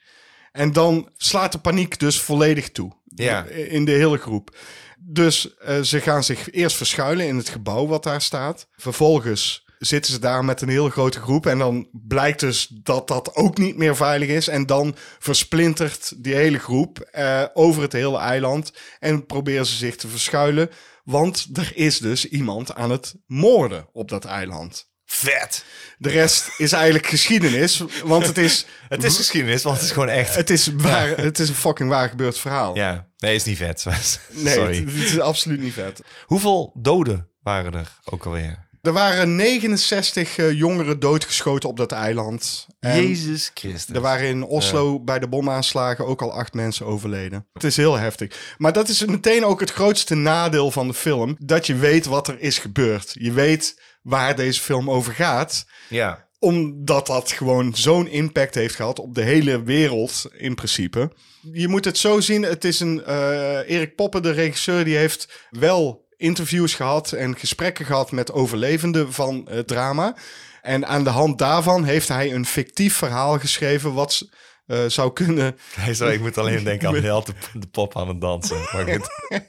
En dan slaat de paniek dus volledig toe
Ja.
in de hele groep. Dus eh, ze gaan zich eerst verschuilen in het gebouw wat daar staat. Vervolgens zitten ze daar met een hele grote groep. En dan blijkt dus dat dat ook niet meer veilig is. En dan versplintert die hele groep eh, over het hele eiland. En proberen ze zich te verschuilen. Want er is dus iemand aan het moorden op dat eiland.
Vet.
De rest is eigenlijk geschiedenis. Want het is,
Het is geschiedenis, want het is gewoon echt.
het is, waar, het is een fucking waar gebeurd verhaal.
Ja, nee, is niet vet.
Nee,
Sorry.
het, het is absoluut niet vet.
Hoeveel doden waren er ook alweer?
Er waren 69 eh, jongeren doodgeschoten op dat eiland.
Ehm,
En
Jezus Christus.
Er waren in Oslo bij de bomaanslagen ook al acht mensen overleden. Het is heel heftig. Maar dat is meteen ook het grootste nadeel van de film. Dat je weet wat er is gebeurd. Je weet waar deze film over gaat.
Ja.
Omdat dat gewoon zo'n impact heeft gehad op de hele wereld in principe. Je moet het zo zien. Het is een eh, Erik Poppen, de regisseur, die heeft wel interviews gehad en gesprekken gehad met overlevenden van het drama. En aan de hand daarvan heeft hij een fictief verhaal geschreven wat s- eh, zou kunnen.
Hij zei, ik moet alleen denken aan Held de, de pop aan het dansen. Maar goed,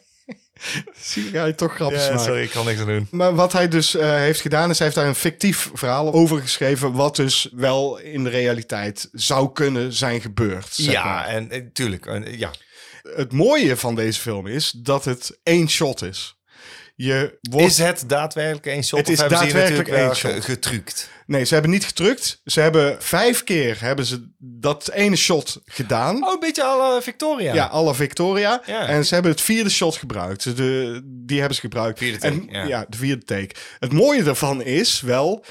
Zie jij toch grappig
ja, sorry, ik kan niks aan doen.
Maar wat hij dus eh, heeft gedaan, is hij heeft daar een fictief verhaal over geschreven. Wat dus wel in de realiteit zou kunnen zijn gebeurd. zeg maar.
Ja, en eh, tuurlijk. en, eh, ja.
het mooie van deze film is dat het één shot is. Je wordt...
Is het daadwerkelijk één shot?
Het
of
is
hebben ze hier
daadwerkelijk
natuurlijk wel
één shot.
ge- Getrukt.
Nee, ze hebben niet gedrukt. Ze hebben vijf keer hebben ze dat ene shot gedaan.
Oh, een beetje alle Victoria.
ja. alle Victoria.
Ja.
En ze hebben het vierde shot gebruikt. Dus De, die hebben ze gebruikt.
Vierde
En-
take, ja.
de vierde take. Het mooie daarvan is wel,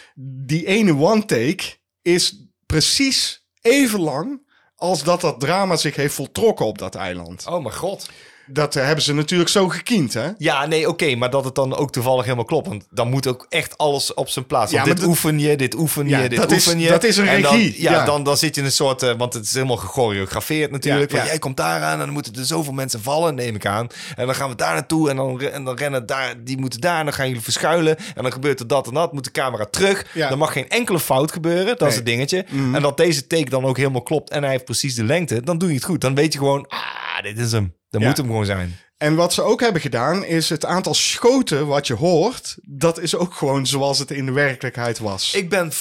die ene one take is precies even lang als dat dat drama zich heeft voltrokken op dat eiland.
Oh, mijn god.
Dat eh, hebben ze natuurlijk zo gekiend, hè?
Ja, nee, oké, maar dat het dan ook toevallig helemaal klopt. Want dan moet ook echt alles op zijn plaats.
Ja,
Want
maar
dit
dat-
oefen je, dit oefen je,
Ja,
dit
dat is-
oefen je.
dat is een
En dan-
regie,
ja,
ja.
Dan, dan zit je in een soort... eh, want het is helemaal gechoreografeerd natuurlijk.
Ja,
want
ja.
Jij komt daar aan en dan moeten er zoveel mensen vallen, neem ik aan. En dan gaan we daar naartoe en dan, re- en dan rennen daar... Die moeten daar en dan gaan jullie verschuilen. En dan gebeurt er dat en dat. Moet de camera terug.
Ja.
Dan mag geen enkele fout gebeuren. Dat is
Nee. Mhm.
het dingetje. En dat deze take dan ook helemaal klopt en hij heeft precies de lengte. Dan doe je het goed. Dan weet je gewoon, ah, dit is hem. Dat
Ja.
moet hem gewoon zijn.
En wat ze ook hebben gedaan is het aantal schoten wat je hoort, dat is ook gewoon zoals het in de werkelijkheid was.
Ik ben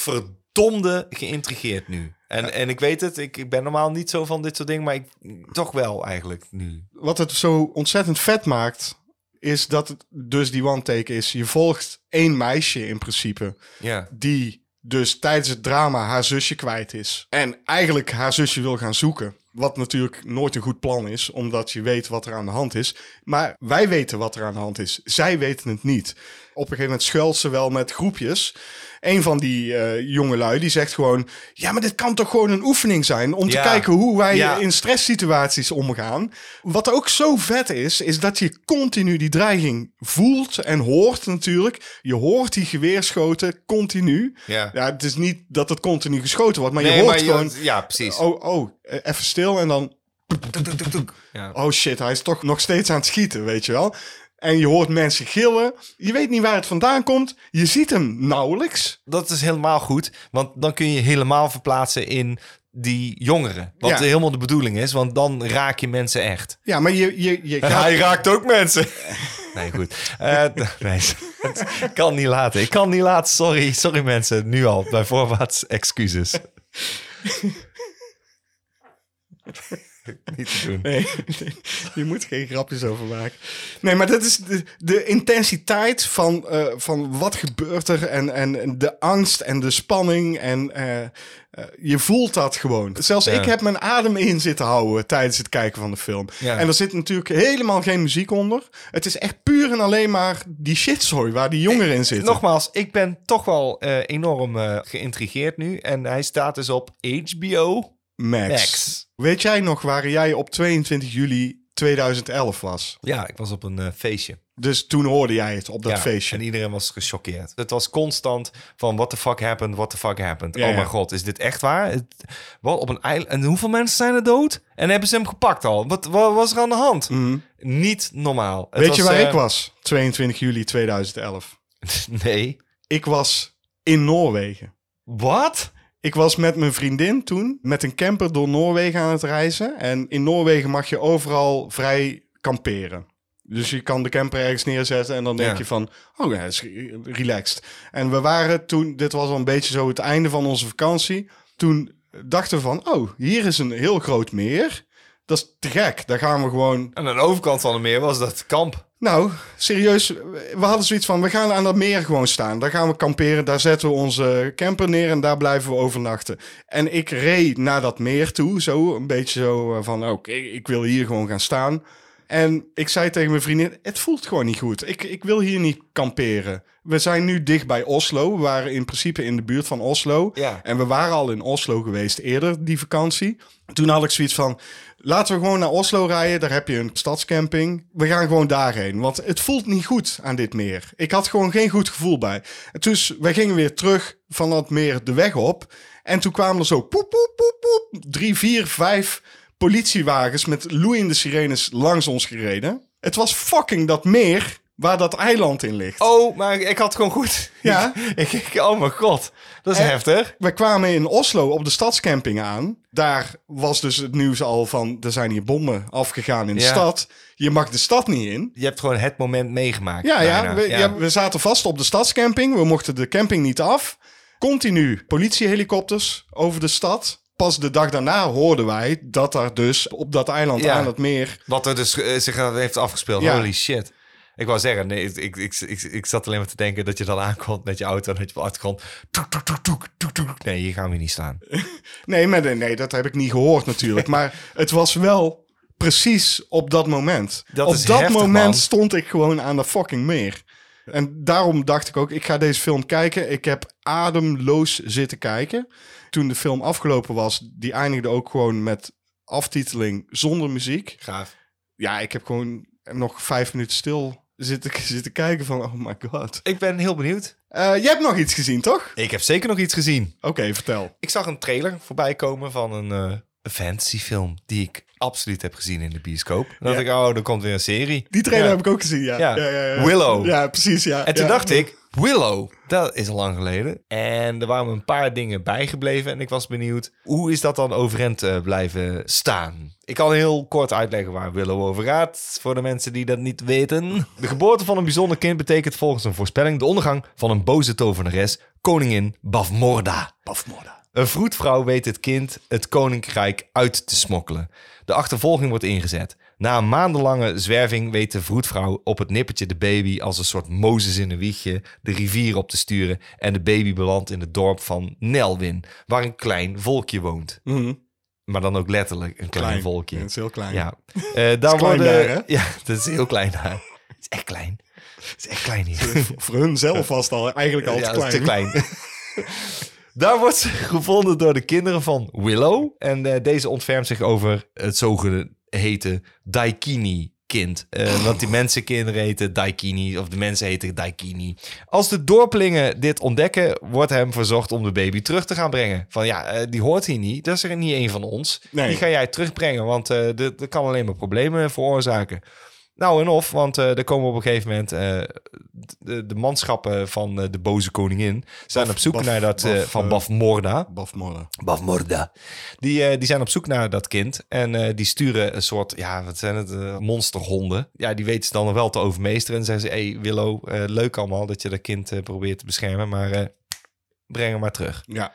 verdomde geïntrigeerd nu. En, en ik weet het, ik, ik ben normaal niet zo van dit soort dingen, maar ik, toch wel eigenlijk nu.
Wat het zo ontzettend vet maakt, is dat het dus die one take is. Je volgt één meisje in principe,
Ja.
die dus tijdens het drama haar zusje kwijt is. En eigenlijk haar zusje wil gaan zoeken. Wat natuurlijk nooit een goed plan is, omdat je weet wat er aan de hand is. Maar wij weten wat er aan de hand is. Zij weten het niet. Op een gegeven moment schuilt ze wel met groepjes. Een van die eh jonge lui die zegt gewoon: Ja, maar dit kan toch gewoon een oefening zijn om
Ja.
te kijken hoe wij
Ja.
in stresssituaties omgaan. Wat ook zo vet is, is dat je continu die dreiging voelt en hoort natuurlijk. Je hoort die geweerschoten continu.
Ja.
het is niet dat het continu geschoten wordt, maar je hoort gewoon...
ja, precies.
Oh, oh, eh, even stil en dan...
Ja.
Oh shit, hij is toch nog steeds aan het schieten, weet je wel. En je hoort mensen gillen. Je weet niet waar het vandaan komt. Je ziet hem nauwelijks.
Dat is helemaal goed, want dan kun je helemaal verplaatsen in die jongeren. Wat
Ja.
helemaal de bedoeling is, want dan raak je mensen echt.
Ja, maar je, je, je gaat...
raakt ook mensen. Nee, goed. Eh, d- nee, ik kan niet laten. Ik kan niet laten. Sorry, sorry mensen. Nu al. Bij voorbaat excuses. niet te doen.
Nee, je moet geen grapjes over maken. Nee, maar dat is de, de intensiteit van, eh, van wat gebeurt er en, en de angst en de spanning. En eh, eh, je voelt dat gewoon. Zelfs
Ja.
ik heb mijn adem in zitten houden tijdens het kijken van de film.
Ja.
En er zit natuurlijk helemaal geen muziek onder. Het is echt puur en alleen maar die shitzooi waar die
Eh,
jongeren in zitten.
Nogmaals, ik ben toch wel eh, enorm eh, geïntrigeerd nu. En hij staat dus op HBO
Max.
Max.
Weet jij nog waar jij op 22 juli 2011 was?
Ja, ik was op een eh, feestje.
Dus toen hoorde jij het op dat
ja,
feestje.
En iedereen was gechoqueerd. Het was constant van what the fuck happened, what the fuck happened.
Ja,
oh
ja.
mijn god, is dit echt waar? Het, wat op een eiland. En hoeveel mensen zijn er dood? En hebben ze hem gepakt al? Wat, wat was er aan de hand? Niet normaal. Het
Mhm. Weet je waar
eh,
ik was? 22 juli 2011.
Nee.
Ik was in Noorwegen.
Wat?
Ik was met mijn vriendin toen met een camper door Noorwegen aan het reizen. En in Noorwegen mag je overal vrij kamperen. Dus je kan de camper ergens neerzetten en dan denk
Ja.
je van, oh ja, het is re- relaxed. En we waren toen, dit was al een beetje zo het einde van onze vakantie. Toen dachten we van, oh, hier is een heel groot meer. Dat is te gek. Daar gaan we gewoon
En aan de overkant van het meer was dat kamp.
Nou, serieus, we hadden zoiets van, we gaan aan dat meer gewoon staan. Daar gaan we kamperen, daar zetten we onze camper neer en daar blijven we overnachten. En ik reed naar dat meer toe, zo een beetje zo eh, van, oké, ik wil hier gewoon gaan staan. En ik zei tegen mijn vriendin, het voelt gewoon niet goed. Ik, ik wil hier niet kamperen. We zijn nu dicht bij Oslo. We waren in principe in de buurt van Oslo.
Ja.
En we waren al in Oslo geweest eerder, die vakantie. Toen had ik zoiets van, laten we gewoon naar Oslo rijden. Daar heb je een stadscamping. We gaan gewoon daarheen, want het voelt niet goed aan dit meer. Ik had gewoon geen goed gevoel bij. Dus wij gingen weer terug van dat meer de weg op. En toen kwamen er zo poep, poep, poep, poep, drie, vier, vijf politiewagens met loeiende sirenes langs ons gereden. Het was fucking dat meer waar dat eiland in ligt.
Oh, maar ik had gewoon goed.
Ja. Eh.
ik, ik- oh mijn god, dat is
En-
heftig.
We kwamen in Oslo op de stadscamping aan. Daar was dus het nieuws al van... er zijn hier bommen afgegaan in de
Ja.
stad. Je mag de stad niet in.
Je hebt gewoon het moment meegemaakt.
Ja, ja,
bijna.
we, ja. we zaten vast op de stadscamping. We mochten de camping niet af. Continu politiehelikopters over de stad. Pas de dag daarna hoorden wij dat er dus op dat eiland
Ja.
aan het meer...
Wat er dus eh, zich heeft afgespeeld.
Ja.
Holy shit. Ik wou zeggen, nee, ik, ik, ik, ik, ik zat alleen maar te denken dat je dan aankomt met je auto en dat je op de achtergrond... Toek, toek, toek, toek, toek, toek. Nee, hier gaan we niet staan.
Nee, maar, nee, nee, dat heb ik niet gehoord natuurlijk. maar het was wel precies op dat moment.
Dat
op
is
dat
heftig,
moment
man.
stond ik gewoon aan de fucking meer. En daarom dacht ik ook, ik ga deze film kijken. Ik heb ademloos zitten kijken. Toen de film afgelopen was, die eindigde ook gewoon met aftiteling zonder muziek.
Gaaf.
Ja, ik heb gewoon nog vijf minuten stil zitten, zitten kijken van, oh my god.
Ik ben heel benieuwd.
Eh, jij hebt nog iets gezien, toch?
Ik heb zeker nog iets gezien.
Oké, vertel.
Ik zag een trailer voorbij komen van een eh, fantasyfilm die ik absoluut heb gezien in de bioscoop. Dan dacht ik, oh, er komt weer een serie.
Die trailer
Ja.
heb ik ook gezien, ja.
Ja.
Ja, ja, ja.
Willow.
Ja, precies, ja.
En toen
Ja.
dacht ik, Willow, dat is al lang geleden. En er waren me een paar dingen bijgebleven. En ik was benieuwd, hoe is dat dan overeind eh, blijven staan? Ik kan heel kort uitleggen waar Willow over gaat. Voor de mensen die dat niet weten. De geboorte van een bijzonder kind betekent volgens een voorspelling... de ondergang van een boze tovenares, koningin Bavmorda. Bavmorda. Een vroedvrouw weet het kind het koninkrijk uit te smokkelen. De achtervolging wordt ingezet. Na een maandenlange zwerving weet de vroedvrouw op het nippertje de baby als een soort Mozes in een wiegje de rivier op te sturen. En de baby belandt in het dorp van Nelwin, waar een klein volkje woont.
Mhm.
Maar dan ook letterlijk een klein,
Klein.
volkje.
Ja, het is heel klein.
Ja. Eh, daar
klein
worden,
daar, hè?
Ja, dat is heel klein daar. Het is echt klein. Het is echt klein hier.
Voor hun zelf was het al eigenlijk al te
Ja,
klein.
dat is Daar wordt ze gevonden door de kinderen van Willow. En eh, deze ontfermt zich over het zogeheten Daikini. Kind.
Oh.
Eh, want die mensenkinderen heten Daikini, of de mensen heten Daikini. Als de dorpelingen dit ontdekken, wordt hem verzocht om de baby terug te gaan brengen. Van ja, eh, die hoort hier niet, dat is er niet één van ons.
Nee.
Die ga jij terugbrengen, want eh dat dat kan alleen maar problemen veroorzaken. Nou en of, want eh er komen op een gegeven moment eh, de, de manschappen van eh, de boze koningin zijn op zoek
Baf-
naar dat eh,
Baf,
van
eh,
Bafmorda.
Bafmorda.
Bafmorda. Die, eh, die zijn op zoek naar dat kind en eh, die sturen een soort, ja, wat zijn het, eh, monsterhonden. Ja, die weten ze dan wel te overmeesteren en zeggen ze, hey Willow, eh, leuk allemaal dat je dat kind eh, probeert te beschermen, maar eh, breng hem maar terug.
Ja.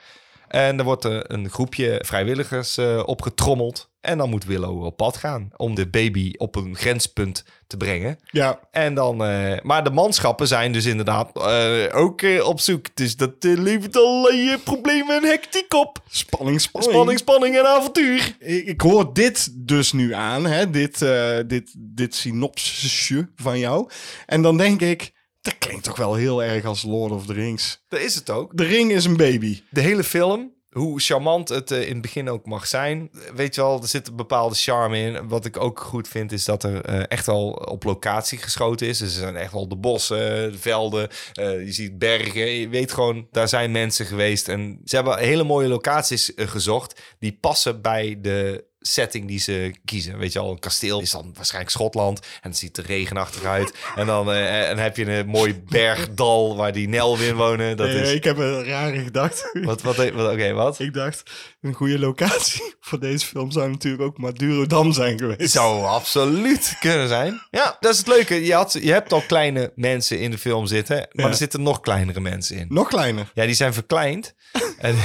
En er wordt eh, een groepje vrijwilligers eh, opgetrommeld en dan moet Willow op pad gaan om de baby op een grenspunt te brengen.
ja,
En dan, eh, maar de manschappen zijn dus inderdaad eh, ook eh, op zoek. Dus dat eh, levert allerlei eh, problemen en hectiek op.
spanning, spanning.
Spanning, spanning en avontuur.
Ik, ik hoor dit dus nu aan, hè? Dit, eh, dit, dit synopsisje van jou. En dan denk ik, dat klinkt toch wel heel erg als Lord of the Rings.
Dat is het ook.
De ring is een baby.
De hele film, hoe charmant het eh, in het begin ook mag zijn. Weet je wel, er zit een bepaalde charme in. Wat ik ook goed vind, is dat er eh, echt al op locatie geschoten is. Dus er zijn echt wel de bossen, de velden. eh, je ziet bergen. Je weet gewoon, daar zijn mensen geweest. En ze hebben hele mooie locaties eh, gezocht. Die passen bij de setting die ze kiezen. Weet je al, een kasteel is dan waarschijnlijk Schotland en het ziet er regenachtig uit. En dan eh, en dan heb je een mooi bergdal waar die Nelwin wonen. Dat
Eh,
is...
Ik heb een rare gedachte.
Wat, wat, wat, oké, wat?
Ik dacht, een goede locatie voor deze film zou natuurlijk ook Madurodam zijn geweest.
Zou absoluut kunnen zijn. Ja, dat is het leuke. Je, had, je hebt al kleine mensen in de film zitten, maar
Ja.
er zitten nog kleinere mensen in.
Nog kleiner.
Ja, die zijn verkleind. en,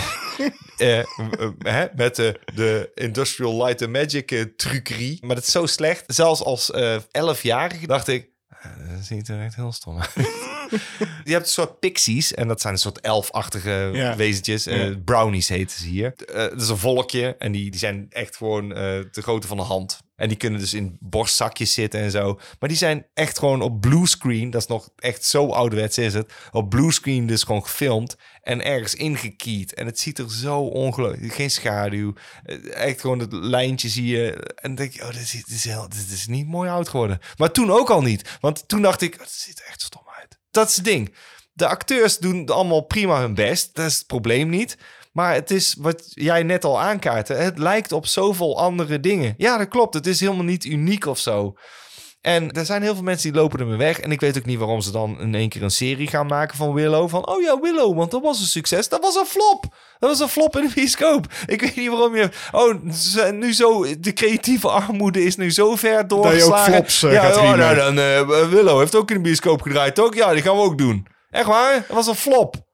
eh, eh, hè, met de, de Industrial Light and Magic eh, trucerie. Maar dat is zo slecht. Zelfs als eh 11-jarige dacht ik, eh, dat ziet er echt heel stom uit. je hebt een soort pixies. En dat zijn een soort elfachtige
Ja.
wezentjes. Eh,
Ja.
brownies heten ze hier. Eh, dat is een volkje. En die, die zijn echt gewoon eh de grootte van de hand. En die kunnen dus in borstzakjes zitten en zo. Maar die zijn echt gewoon op bluescreen. Dat is nog echt zo ouderwets is het. Op bluescreen dus gewoon gefilmd. En ergens ingekiet. En het ziet er zo ongelooflijk... Geen schaduw. Eh, Echt gewoon het lijntje zie je. En dan denk je, oh, dit is, dit, is heel, dit is niet mooi oud geworden. Maar toen ook al niet. Want toen dacht ik, het ziet er echt stom uit. Dat is het ding. De acteurs doen allemaal prima hun best. Dat is het probleem niet. Maar het is wat jij net al aankaartte. Het lijkt op zoveel andere dingen. Ja, dat klopt. Het is helemaal niet uniek of zo. En er zijn heel veel mensen die lopen ermee weg. En ik weet ook niet waarom ze dan in één keer een serie gaan maken van Willow. Van, oh ja, Willow, want dat was een succes. Dat was een flop. Dat was een flop in de bioscoop. Ik weet niet waarom je... Oh, ze- nu zo... De creatieve armoede is nu zo ver doorgeslagen.
flops, eh,
ja,
gaat
oh,
riemen.
nou, dan, eh, Willow heeft ook in de bioscoop gedraaid, toch? Ja, die gaan we ook doen. Echt waar? Dat was een flop.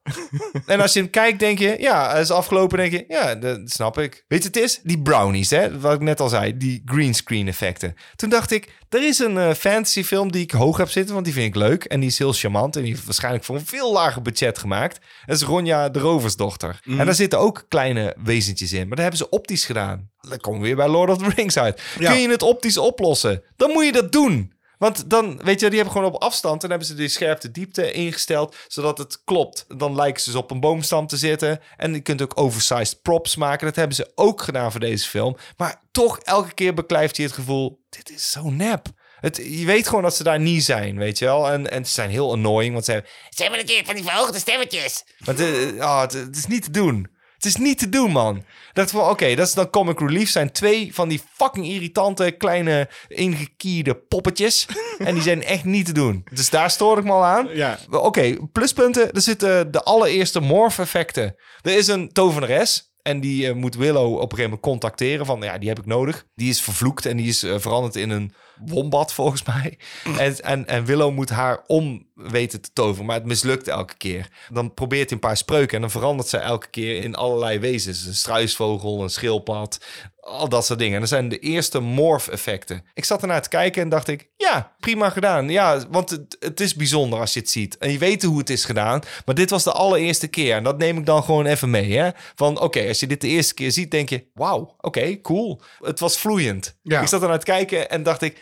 En als je hem kijkt, denk je, ja, hij is afgelopen, denk je, ja, dat snap ik. Weet je, het is die brownies, hè, wat ik net al zei, die greenscreen effecten. Toen dacht ik, er is een eh fantasyfilm die ik hoog heb zitten, want die vind ik leuk en die is heel charmant en die is waarschijnlijk voor een veel lager budget gemaakt. Dat is Ronja de Roversdochter. En daar zitten ook kleine wezentjes in, maar dat hebben ze optisch gedaan. Dan komen we weer bij Lord of the Rings uit.
Ja.
Kun je het optisch oplossen? Dan moet je dat doen. Want dan, weet je, die hebben gewoon op afstand. Dan hebben ze die scherpte diepte ingesteld, zodat het klopt. Dan lijken ze dus op een boomstam te zitten. En je kunt ook oversized props maken. Dat hebben ze ook gedaan voor deze film. Maar toch, elke keer beklijft je het gevoel, dit is zo nep. Het, je weet gewoon dat ze daar niet zijn, weet je wel. En, en ze zijn heel annoying, want ze hebben... Ze hebben een keer van die verhoogde stemmetjes. Maar het, eh, ah, het, het is niet te doen. Het is niet te doen, man. Ik dacht van, oké, dat is dan Comic Relief. Zijn twee van die fucking irritante, kleine, ingekierde poppetjes. en die zijn echt niet te doen. Dus daar stoor ik me al aan.
Ja.
Wel, Oké, pluspunten. Er zitten de allereerste morph-effecten. Er is een tovenares. En die eh, moet Willow op een gegeven moment contacteren. Van ja, die heb ik nodig. Die is vervloekt en die is eh, veranderd in een wombat, volgens mij. En, en, en Willow moet haar om weten te toveren. Maar het mislukt elke keer. Dan probeert hij een paar spreuken. En dan verandert zij elke keer in allerlei wezens. Een struisvogel, een schildpad. Al dat soort dingen. En dat zijn de eerste morph-effecten. Ik zat ernaar te kijken en dacht ik... Ja, prima gedaan. Ja, want het, het is bijzonder als je het ziet. En je weet hoe het is gedaan. Maar dit was de allereerste keer. En dat neem ik dan gewoon even mee. Hè? Van oké, als je dit de eerste keer ziet, denk je... Wauw, oké, cool. Het was vloeiend.
Ja.
Ik zat ernaar te kijken en dacht ik...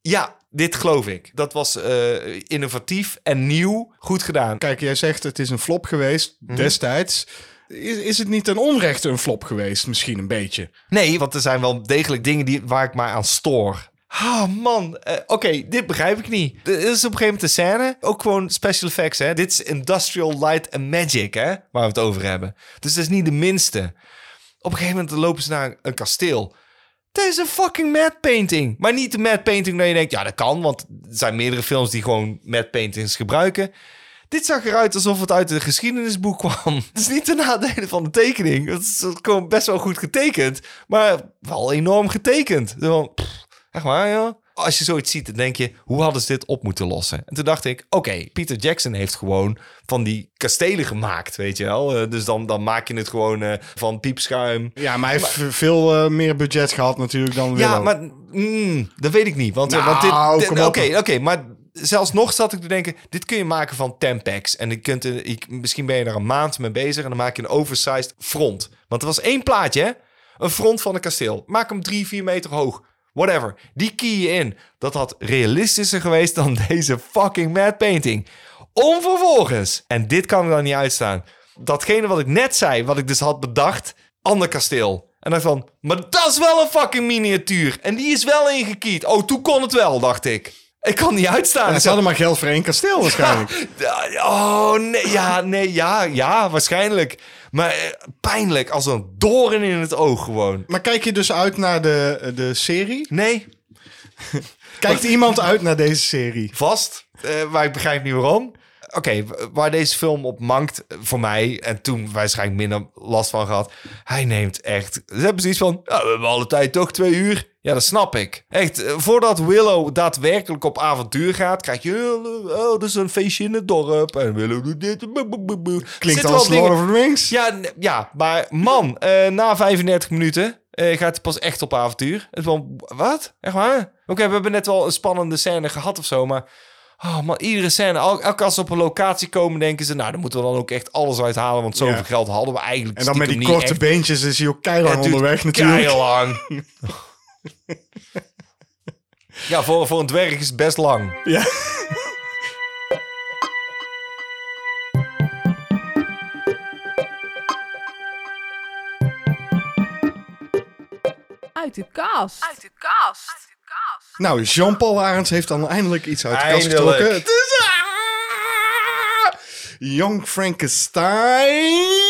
Ja, dit geloof ik. Dat was eh, innovatief en nieuw. Goed gedaan.
Kijk, jij zegt het is een flop geweest
Mhm.
destijds. Is, is het niet ten onrechte een flop geweest? Misschien een beetje.
Nee, want er zijn wel degelijk dingen die, waar ik maar aan stoor. Ah, man. Eh, Oké, dit begrijp ik niet. Er is op een gegeven moment een scène. Ook gewoon special effects, hè. Dit is Industrial Light and Magic, hè. Waar we het over hebben. Dus dat is niet de minste. Op een gegeven moment lopen ze naar een kasteel. Dat is een fucking matte painting. Maar niet de matte painting dat je denkt... Ja, dat kan, want er zijn meerdere films die gewoon matte paintings gebruiken. Dit zag eruit alsof het uit een geschiedenisboek kwam. Het is niet ten nadele van de tekening. Het is gewoon best wel goed getekend. Maar wel enorm getekend. Zo van, pff, echt waar, joh. Als je zoiets ziet, dan denk je... hoe hadden ze dit op moeten lossen? En toen dacht ik... oké, Peter Jackson heeft gewoon van die kastelen gemaakt, weet je wel. Eh, dus dan, dan maak je het gewoon eh, van piepschuim.
Ja, maar hij heeft veel eh, meer budget gehad natuurlijk dan Willow.
Ja, maar mm, dat weet ik niet. Want, eh, want
Nou,
dit, dit-
kom
oké,
op.
oké, maar zelfs nog zat ik te denken, dit kun je maken van 10 packs. En je kunt, er- ik, misschien ben je er een maand mee bezig en dan maak je een oversized front. Want er was één plaatje, hè? Een front van een kasteel. Maak hem drie, vier meter hoog. Whatever. Die key je in. Dat had realistischer geweest dan deze fucking mad painting. Om vervolgens, en dit kan er dan niet uitstaan, datgene wat ik net zei, wat ik dus had bedacht, ander kasteel. En dacht van, maar dat is wel een fucking miniatuur. En die is wel ingekiet. Oh, toen kon het wel, dacht ik. Ik kan niet uitstaan.
Ja,
Ik
ze hadden maar geld voor één kasteel waarschijnlijk.
ja, Oh, nee, ja, nee, ja, ja, waarschijnlijk. Maar eh, pijnlijk, als een doorn in het oog gewoon.
Maar kijk je dus uit naar de, eh, de serie?
Nee,
Kijkt iemand uit naar deze serie?
vast, eh, maar ik begrijp niet waarom. Oké, w- waar deze film op mankt, eh, voor mij, en toen waarschijnlijk minder last van gehad, hij neemt echt... Ze hebben zoiets van, ja, we hebben alle tijd toch twee uur. Ja, dat snap ik. Echt, eh, voordat Willow daadwerkelijk op avontuur gaat, krijg je... eh, Oh, er is een feestje in het dorp en Willow doet dit. boe, boe, boe, boe.
Klinkt
Zitten
als
wel dingen-
Lord of the Rings.
Ja, n- ja maar man, eh, na 35 minuten eh, gaat het pas echt op avontuur. Het is van, wat? Echt waar? Oké, we hebben net wel een spannende scène gehad of zo, maar... Oh man, iedere scène. Elke elke als ze op een locatie komen, denken ze... Nou, dan moeten we dan ook echt alles uithalen. Want zoveel
Ja.
geld hadden we eigenlijk
En dan met
stiekem
die
niet
korte
echt.
beentjes is hij ook keihard
Het duurt
onderweg natuurlijk.
keilang. ja, voor, voor een dwerg is het best lang.
Ja.
Uit de kast.
Nou, Jean-Paul Arends heeft dan eindelijk iets uit de kast
Eindelijk.
getrokken. Het is... Ah! Young Frankenstein...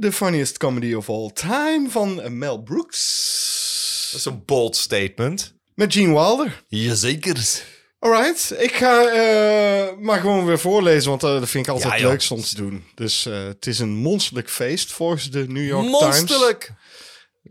The funniest comedy of all time van Mel
Dat
Brooks.
is een bold statement.
Met Gene Wilder.
Jazeker.
Alright, ik ga eh, maar gewoon weer voorlezen, want eh, dat vind ik altijd
Ja, joh.
leuk soms te doen. Dus eh, het is een monsterlijk feest volgens de New York Times.
Monsterlijk.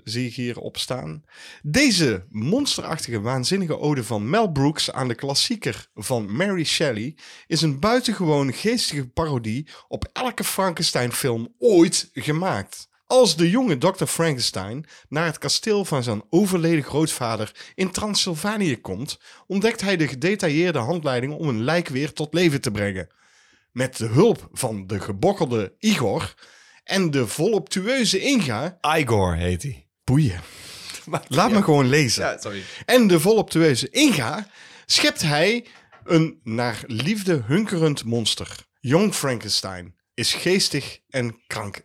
Zie ik hier opstaan. Deze monsterachtige, waanzinnige ode van Mel Brooks aan de klassieker van Mary Shelley is een buitengewoon geestige parodie op elke Frankenstein-film ooit gemaakt. Als de jonge Dr. Frankenstein naar het kasteel van zijn overleden grootvader in Transylvanië komt, ontdekt hij de gedetailleerde handleiding om een lijk weer tot leven te brengen. Met de hulp van de gebokkelde Igor en de voluptueuze Inga
Igor heet hij.
Boeien. Laat me gewoon lezen.
sorry.
En de voluptueuze Inga schept hij een naar liefde hunkerend monster. Jong Frankenstein is geestig en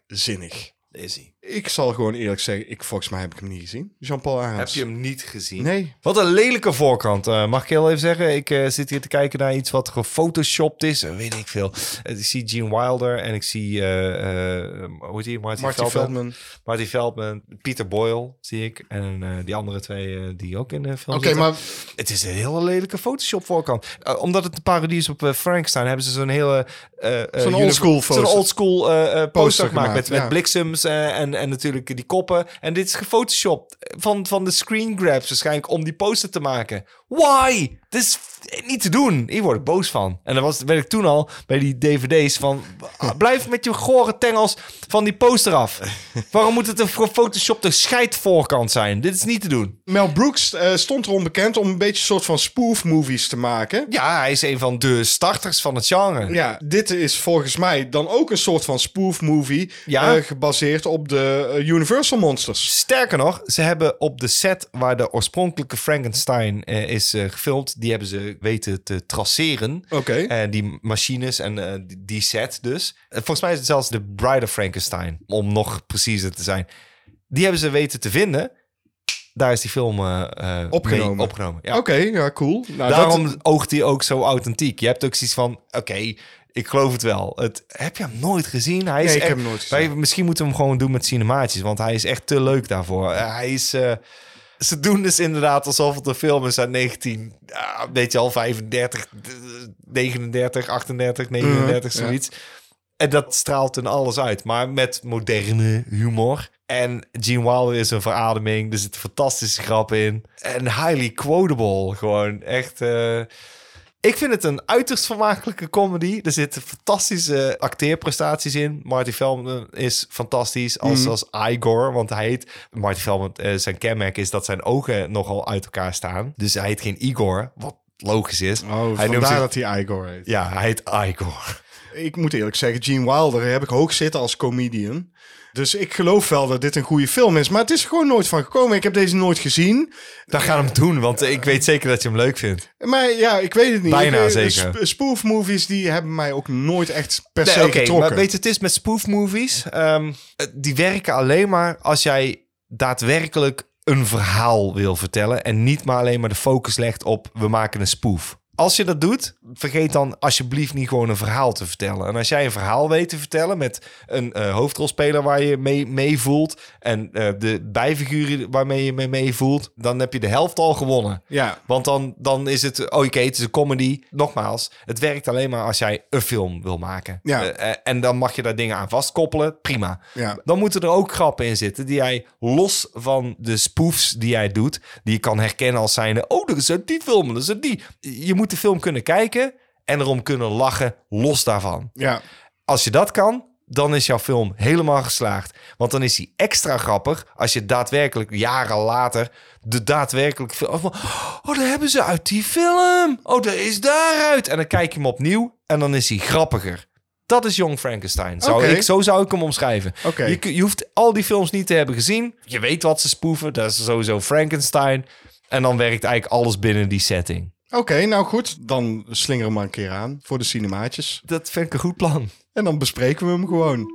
krankzinnig.
Is hij.
Ik zal gewoon eerlijk zeggen, ik, volgens mij heb ik hem niet gezien. Jean-Paul Arends.
Heb je hem niet gezien?
Nee.
Wat een lelijke voorkant, eh, mag ik heel even zeggen. Ik eh, zit hier te kijken naar iets wat gefotoshopt is. Eh, weet ik veel. Eh, ik zie Gene Wilder en ik zie... eh, eh, hoe heet die? Marty,
Marty
Feldman.
Feldman.
Marty Feldman. Peter Boyle zie ik. En eh, die andere twee eh, die ook in de film
Oké,
zitten.
maar
Het is een hele lelijke Photoshop voorkant. Eh, omdat het een parodie is op eh, Frankenstein, hebben ze zo'n hele... eh, eh,
Zo'n
uni-
oldschool
Zo'n
poster.
oldschool eh, eh, poster,
Poster
gemaakt.
gemaakt,
Met, met
ja.
bliksems eh, en, en natuurlijk die koppen. En dit is gefotoshopt van, van de screen grabs waarschijnlijk om die poster te maken. Why? Dit is f- niet te doen. Hier word ik boos van. En dan was, werd ik toen al bij die dvd's van... ah, Blijf met je gore tengels van die poster af. Waarom moet het een gefotoshopte scheidvoorkant zijn? Dit is niet te doen.
Mel Brooks eh, stond erom bekend om een beetje een soort van spoof-movies te maken.
Ja, hij is een van de starters van het genre.
Ja, dit is volgens mij dan ook een soort van spoof-movie.
Ja.
eh, gebaseerd op de eh, Universal Monsters.
Sterker nog, ze hebben op de set waar de oorspronkelijke Frankenstein eh, is eh, gefilmd, die hebben ze weten te traceren.
Oké.
Eh, die machines en eh, die- die set dus. Eh, volgens mij is het zelfs de Bride of Frankenstein, om nog preciezer te zijn. Die hebben ze weten te vinden. Daar is die film eh, eh,
Opgenomen.
mee opgenomen. Ja.
Oké, ja, cool. Nou,
Daarom
dat-
oogt hij ook zo authentiek. Je hebt ook zoiets van, oké, ik geloof het wel. Het, heb je hem nooit gezien? Hij is
Nee, ik
echt-
heb hem nooit gezien.
Wij, misschien moeten we hem gewoon doen met cinemaatjes, want hij is echt te leuk daarvoor. Eh, hij is... eh, ze doen dus inderdaad alsof het een film is uit 19, ah, weet je al, 35, eh, 39, 38, 39,
Mhm, ja.
zoiets. En dat straalt in alles uit, maar met moderne humor. En Gene Wilder is een verademing, er zit een fantastische grap in. En highly quotable, gewoon echt... eh, ik vind het een uiterst vermakelijke comedy. Er zitten fantastische acteerprestaties in. Marty Feldman is fantastisch als,
Mhm.
als Igor, want hij heet... Marty Feldman, eh, zijn kenmerk is dat zijn ogen nogal uit elkaar staan. Dus hij heet geen Igor, wat logisch is.
Oh,
hij
vandaar
zich-
dat hij Igor heet.
Ja, hij heet Igor.
Ik moet eerlijk zeggen, Gene Wilder heb ik hoog zitten als comedian. Dus ik geloof wel dat dit een goede film is. Maar het is er gewoon nooit van gekomen. Ik heb deze nooit gezien.
Dan gaan we hem doen, want eh, ik weet zeker dat je hem leuk vindt.
Maar ja, ik weet het niet.
Bijna
Ik, eh,
zeker.
sp- spoofmovies die hebben mij ook nooit echt per se
Nee, oké,
getrokken.
maar weet je, het is met spoofmovies. ehm, het- die werken alleen maar als jij daadwerkelijk een verhaal wil vertellen. En niet maar alleen maar de focus legt op we maken een spoof. Als je dat doet, vergeet dan alsjeblieft niet gewoon een verhaal te vertellen. En als jij een verhaal weet te vertellen met een eh, hoofdrolspeler waar je mee, mee voelt. en eh, de bijfiguren waarmee je mee, mee voelt. dan heb je de helft al gewonnen.
Ja.
Want dan, dan is het, oh, oké, het is een comedy. Nogmaals, het werkt alleen maar als jij een film wil maken.
Ja.
Eh, eh, en dan mag je daar dingen aan vastkoppelen, prima.
Ja.
Dan moeten er ook grappen in zitten die jij los van de spoofs die jij doet, die je kan herkennen als zijnde, oh, dat is uit die film, dat is uit die. Je moet de film kunnen kijken en erom kunnen lachen los daarvan.
Ja,
Als je dat kan, dan is jouw film helemaal geslaagd. Want dan is hij extra grappig als je daadwerkelijk jaren later de daadwerkelijke film... van, Oh, daar hebben ze uit die film. Oh, daar is daaruit. En dan kijk je hem opnieuw en dan is hij grappiger. Dat is Jong Frankenstein. Zou
Oké.
ik, zo zou ik hem omschrijven.
Oké.
Je, kun- je hoeft al die films niet te hebben gezien. Je weet wat ze spoeven. Dat is sowieso Frankenstein. En dan werkt eigenlijk alles binnen die setting.
Oké, nou goed. Dan slingeren we maar een keer aan voor de cinemaatjes.
Dat vind ik een goed plan.
En dan bespreken we hem gewoon.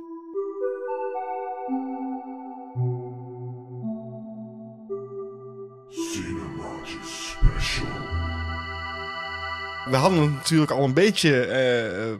We hadden hem natuurlijk al een beetje eh, eh,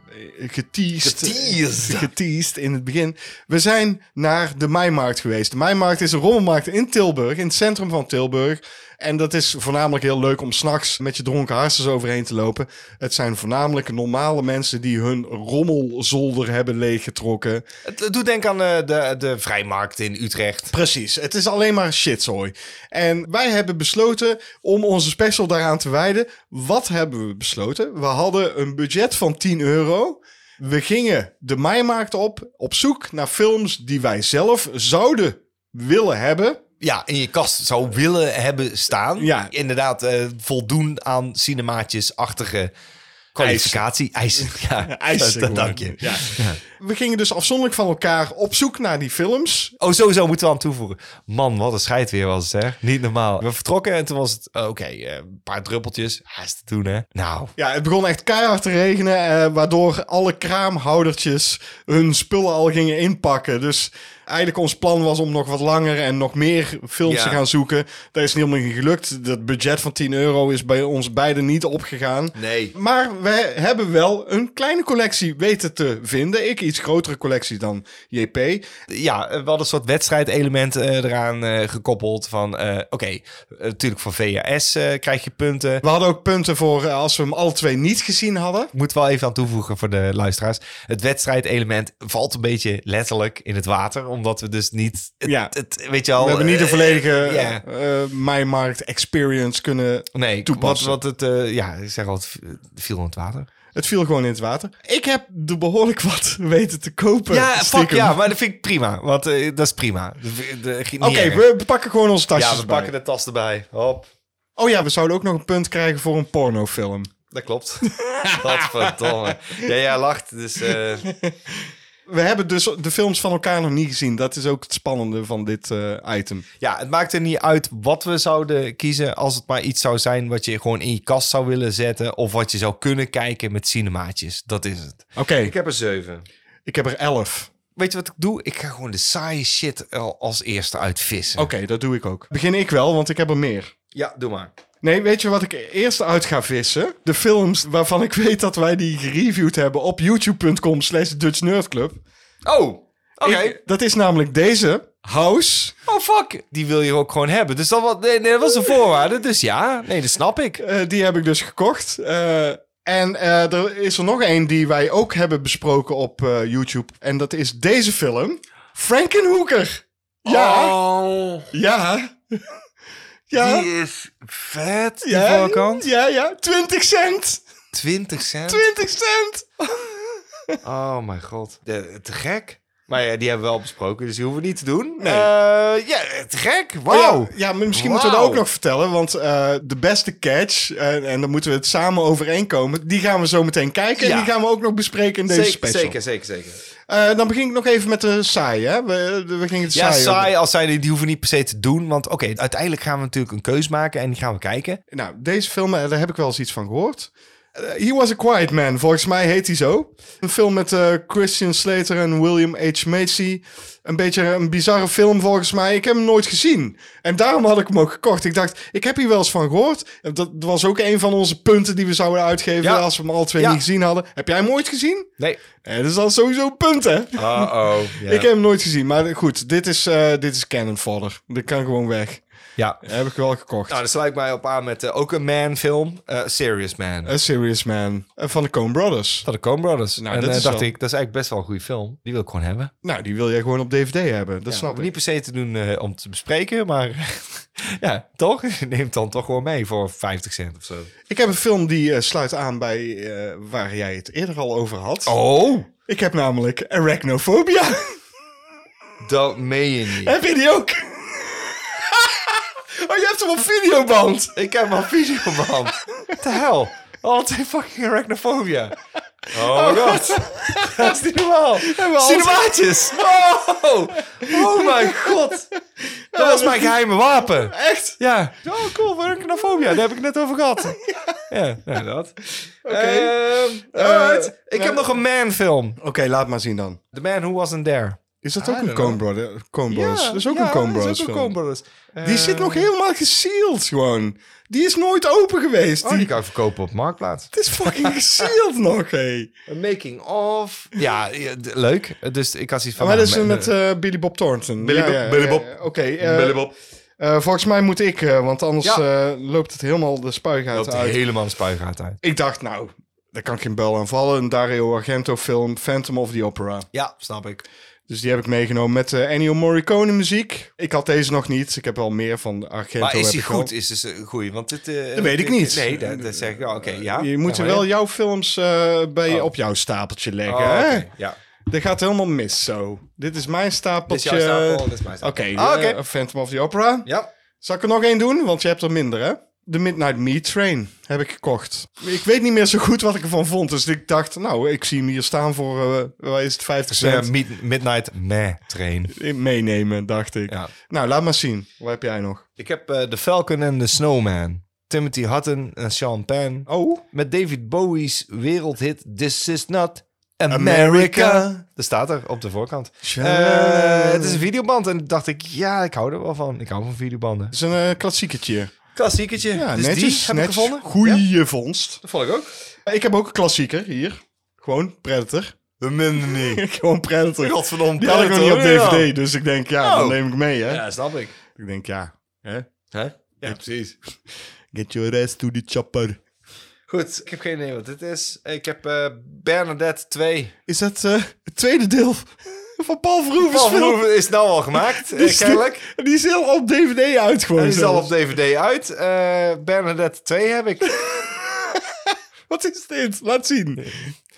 geteased.
Geteased.
Geteased in het begin. We zijn naar de Meimarkt geweest. De Meimarkt is een rommelmarkt in Tilburg, in het centrum van Tilburg. En dat is voornamelijk heel leuk om s'nachts met je dronken hartjes overheen te lopen. Het zijn voornamelijk normale mensen die hun rommelzolder hebben leeggetrokken.
Het, het doet denken aan eh, de, de vrijmarkt in Utrecht.
Precies, het is alleen maar shitzooi. En wij hebben besloten om onze special daaraan te wijden. Wat hebben we besloten? We hadden een budget van 10 euro. We gingen de Meimarkt op, op zoek naar films die wij zelf zouden willen hebben.
Ja, in je kast zou willen hebben staan.
Ja.
Inderdaad, eh, voldoen aan cinemaatjes-achtige kwalificatie. Eisen. Ja,
Eisen
dat,
gewoon.
dank je.
Ja. We gingen dus afzonderlijk van elkaar op zoek naar die films.
Oh, sowieso moeten we aan toevoegen. Man, wat een scheid weer was het, hè? Niet normaal. We vertrokken en toen was het, oké, eh, een paar druppeltjes. Hij is te doen, hè? Nou,
Ja, het begon echt keihard te regenen, eh, waardoor alle kraamhoudertjes hun spullen al gingen inpakken. Dus eigenlijk ons plan was om nog wat langer en nog meer films
Ja.
te gaan zoeken. Dat is niet helemaal niet gelukt. Dat budget van 10 euro is bij ons beiden niet opgegaan.
Nee.
Maar we hebben wel een kleine collectie weten te vinden. Ik iets grotere collectie dan JP.
ja, eh, we hadden een soort wedstrijdelement eh, eraan eh, gekoppeld. Van, eh, oké, eh, natuurlijk van VHS eh, krijg je punten.
We hadden ook punten voor eh, als we hem alle twee niet gezien hadden.
Ik moet wel even aan toevoegen voor de luisteraars. Het wedstrijdelement valt een beetje letterlijk in het water. Omdat we dus niet... Het,
Ja.
het- weet je al,
We hebben niet de
eh,
volledige
ja.
eh, eh, Mijmarkt experience kunnen
Nee, wat,
toepassen.
wat het... eh, ja, ik zeg al, het v- het viel in het water.
Het viel gewoon in het water. Ik heb er behoorlijk wat weten te kopen.
Ja, fuck
stiekem.
ja, maar dat vind ik prima. Want eh, dat is prima.
Oké, we pakken gewoon onze tasjes
ja, we
erbij.
pakken de tas erbij. Hop,
Oh ja, we zouden ook nog een punt krijgen voor een pornofilm.
dat klopt. Wat verdomme. Ja, jij lacht, dus... eh,
We hebben dus de films van elkaar nog niet gezien. Dat is ook het spannende van dit eh, item.
Ja, het maakt er niet uit wat we zouden kiezen. Als het maar iets zou zijn wat je gewoon in je kast zou willen zetten. Of wat je zou kunnen kijken met cinemaatjes. Dat is het.
Oké,
heb er zeven.
ik heb er elf.
Weet je wat ik doe? Ik ga gewoon de saaie shit al als eerste uitvissen.
Oké, dat doe ik ook. Begin ik wel, want ik heb er meer.
Oh. Ja, doe maar.
Nee, weet je wat ik eerst uit ga vissen? De films waarvan ik weet dat wij die gereviewd hebben op youtube.com slash Dutch Nerd Club.
Oh, oké.
Ik- Dat is namelijk deze, House.
Oh, fuck. Die wil je ook gewoon hebben. Dus dat was, nee, nee, dat was een voorwaarde. Dus ja, nee, dat snap ik.
Eh, die heb ik dus gekocht. Eh, en eh, er is er nog één die wij ook hebben besproken op eh, YouTube. En dat is deze film. Frankenhoeker. Ja,
Oh,
ja. ja.
die is vet, die
ja,
voorkant.
Ja, ja. 20 cent.
20 cent.
20 cent.
Oh mijn god. De- te gek. Maar ja, die hebben we al besproken, dus die hoeven we niet te doen.
Nee.
Eh, ja, te gek. Wauw.
Oh, Ja, ja, maar misschien moeten we dat
Wauw.
ook nog vertellen. Want eh, de beste catch, eh, en dan moeten we het samen overeenkomen. Die gaan we zo meteen kijken.
Ja.
En die gaan we ook nog bespreken in deze special.
zeker, zeker.
Eh, dan begin ik nog even met de saai, hè? We, we gingen het
Ja,
saai.
saai als zij die, die hoeven we niet per se te doen. Want oké, uiteindelijk gaan we natuurlijk een keus maken en die gaan we kijken.
Nou, deze film, eh, daar heb ik wel eens iets van gehoord. Eh, He Was a Quiet Man, volgens mij heet hij zo. Een film met eh, Christian Slater en William H. Macy. Een beetje een bizarre film volgens mij. Ik heb hem nooit gezien. En daarom had ik hem ook gekocht. Ik dacht, ik heb hier wel eens van gehoord. En Dat was ook een van onze punten die we zouden uitgeven
Ja.
als we hem alle twee
Ja.
niet gezien hadden. Heb jij hem ooit gezien?
Nee.
Eh, dat is dan sowieso een punt, hè?
Uh-oh. Ja.
Ik heb hem nooit gezien, maar goed, dit is, eh dit is canon fodder. Dit kan gewoon weg.
ja. Nou,
Heb ik wel gekocht.
daar sluit ik mij op aan met eh, ook een man-film. eh, Serious Man.
A Serious Man eh, van de Coen Brothers.
van de Coen Brothers.
Nou,
en
dat
eh,
is
dacht
wel-
ik, dat is eigenlijk best wel een goede film. Die wil ik gewoon hebben.
Nou, die wil jij gewoon op DVD hebben. Dat
Ja,
snap ik.
Niet per se te doen eh, om te bespreken, maar ja, toch? Neem het dan toch gewoon mee voor 50 cent of zo.
Ik heb een film die eh, sluit aan bij eh, waar jij het eerder al over had.
Oh!
Ik heb namelijk arachnophobia.
Dat meen je niet.
heb je die ook? oh, je hebt hem op videoband.
Ik heb mijn video, man. What the hell? Altijd fucking arachnophobia. Oh my god. Dat is niet normaal. Cinemaatjes. Oh, oh mijn god. Dat was mijn geheime wapen.
Echt?
Ja. Oh, cool. Arachnofobia. Daar heb ik het net over gehad. Ja, nou, dat. Oké.
alright.
ik heb nog een man-film.
Oké, laat maar zien dan.
The Man Who Wasn't There.
Is dat ook een Coen Brothers? Coen Brothers. dat is ook een Coen Brothers film.
film.
Die zit nog helemaal gesealed gewoon. Die is nooit open geweest.
Oh, die kan ik verkopen op Marktplaats.
Het is fucking gesealed nog, hé.
Een making of. Ja, ja, d- leuk. Eh, Dus ik had zoiets van...
maar dat
nou,
is
me-
met
me-
eh, Billy Bob Thornton.
Billy
Ja,
Bob,
ja, ja,
Billy
ja.
Bob.
Oké, eh,
Billy Bob.
eh, volgens mij moet ik, eh, want anders
Ja.
eh, loopt het helemaal de spuigaat
loopt
uit.
helemaal de spuigaat uit.
Ik dacht, nou, daar kan geen bel aan vallen. Een Dario Argento film, Phantom of the Opera.
Ja, snap ik.
Dus die heb ik meegenomen met eh Ennio Morricone muziek. Ik had deze nog niet. Ik heb wel meer van de Argento.
Maar is
heb
die
ik al.
goed? Is dus een goeie? Want dit... eh,
Dat weet ik
dit-
niet.
Nee, dat, dat zeg ik. wel. Oké, ja.
Je moet
Ja, maar
wel
ja.
jouw films eh, bij, op jouw stapeltje leggen.
Oh,
hè?
oké, Ja.
Dit gaat helemaal mis zo. Dit is mijn
Dit is
stapeltje.
jouw stapel, dit is mijn stapel.
Oké,
Ah,
eh,
oké.
Phantom of the Opera.
Ja.
Zal ik er nog één doen? Want je hebt er minder, hè? De Midnight Meat Train heb ik gekocht. Ik weet niet meer zo goed wat ik ervan vond. Dus ik dacht, nou, ik zie hem hier staan voor, eh wat is het, 50
Eh,
cent?
Mid- Midnight Meh Train.
Meenemen, dacht ik.
Ja.
Nou, laat maar zien. Wat heb jij nog?
Ik heb eh The Falcon and the Snowman. Timothy Hutton en Sean Penn.
Oh.
Met David Bowie's wereldhit This Is Not
America.
America. Dat staat er op de voorkant.
Tja.
Eh, het is een videoband en dacht ik, ja, ik hou er wel van. Ik hou van videobanden.
Dat is een eh, klassieketje.
Klassieketje.
Ja,
dus
netjes.
die heb
netjes.
ik gevonden.
Goeie
Ja,
vondst.
dat vond ik ook.
Ik heb ook een klassieker hier. Gewoon Predator.
Minder niet.
Gewoon Predator.
Godverdomme.
Die had ik nog niet op DVD, dus ik denk, ja,
Oh.
dan neem ik mee, hè?
Ja, snap ik.
Ik denk, ja. Hè?
Hè? Ja, precies.
Get your ass to the chopper.
Goed, ik heb geen idee wat dit is. Ik heb eh, Bernadette 2.
Is dat eh, het tweede deel van Paul Verhoeven's
Paul
film?
Verhoeven is nou al gemaakt,
Die
eh,
is-
kennelijk.
Die is heel op DVD uit gewoon.
Die is al
zelfs.
op DVD uit. Eh Bernadette 2 heb ik.
Wat is dit? Laat zien.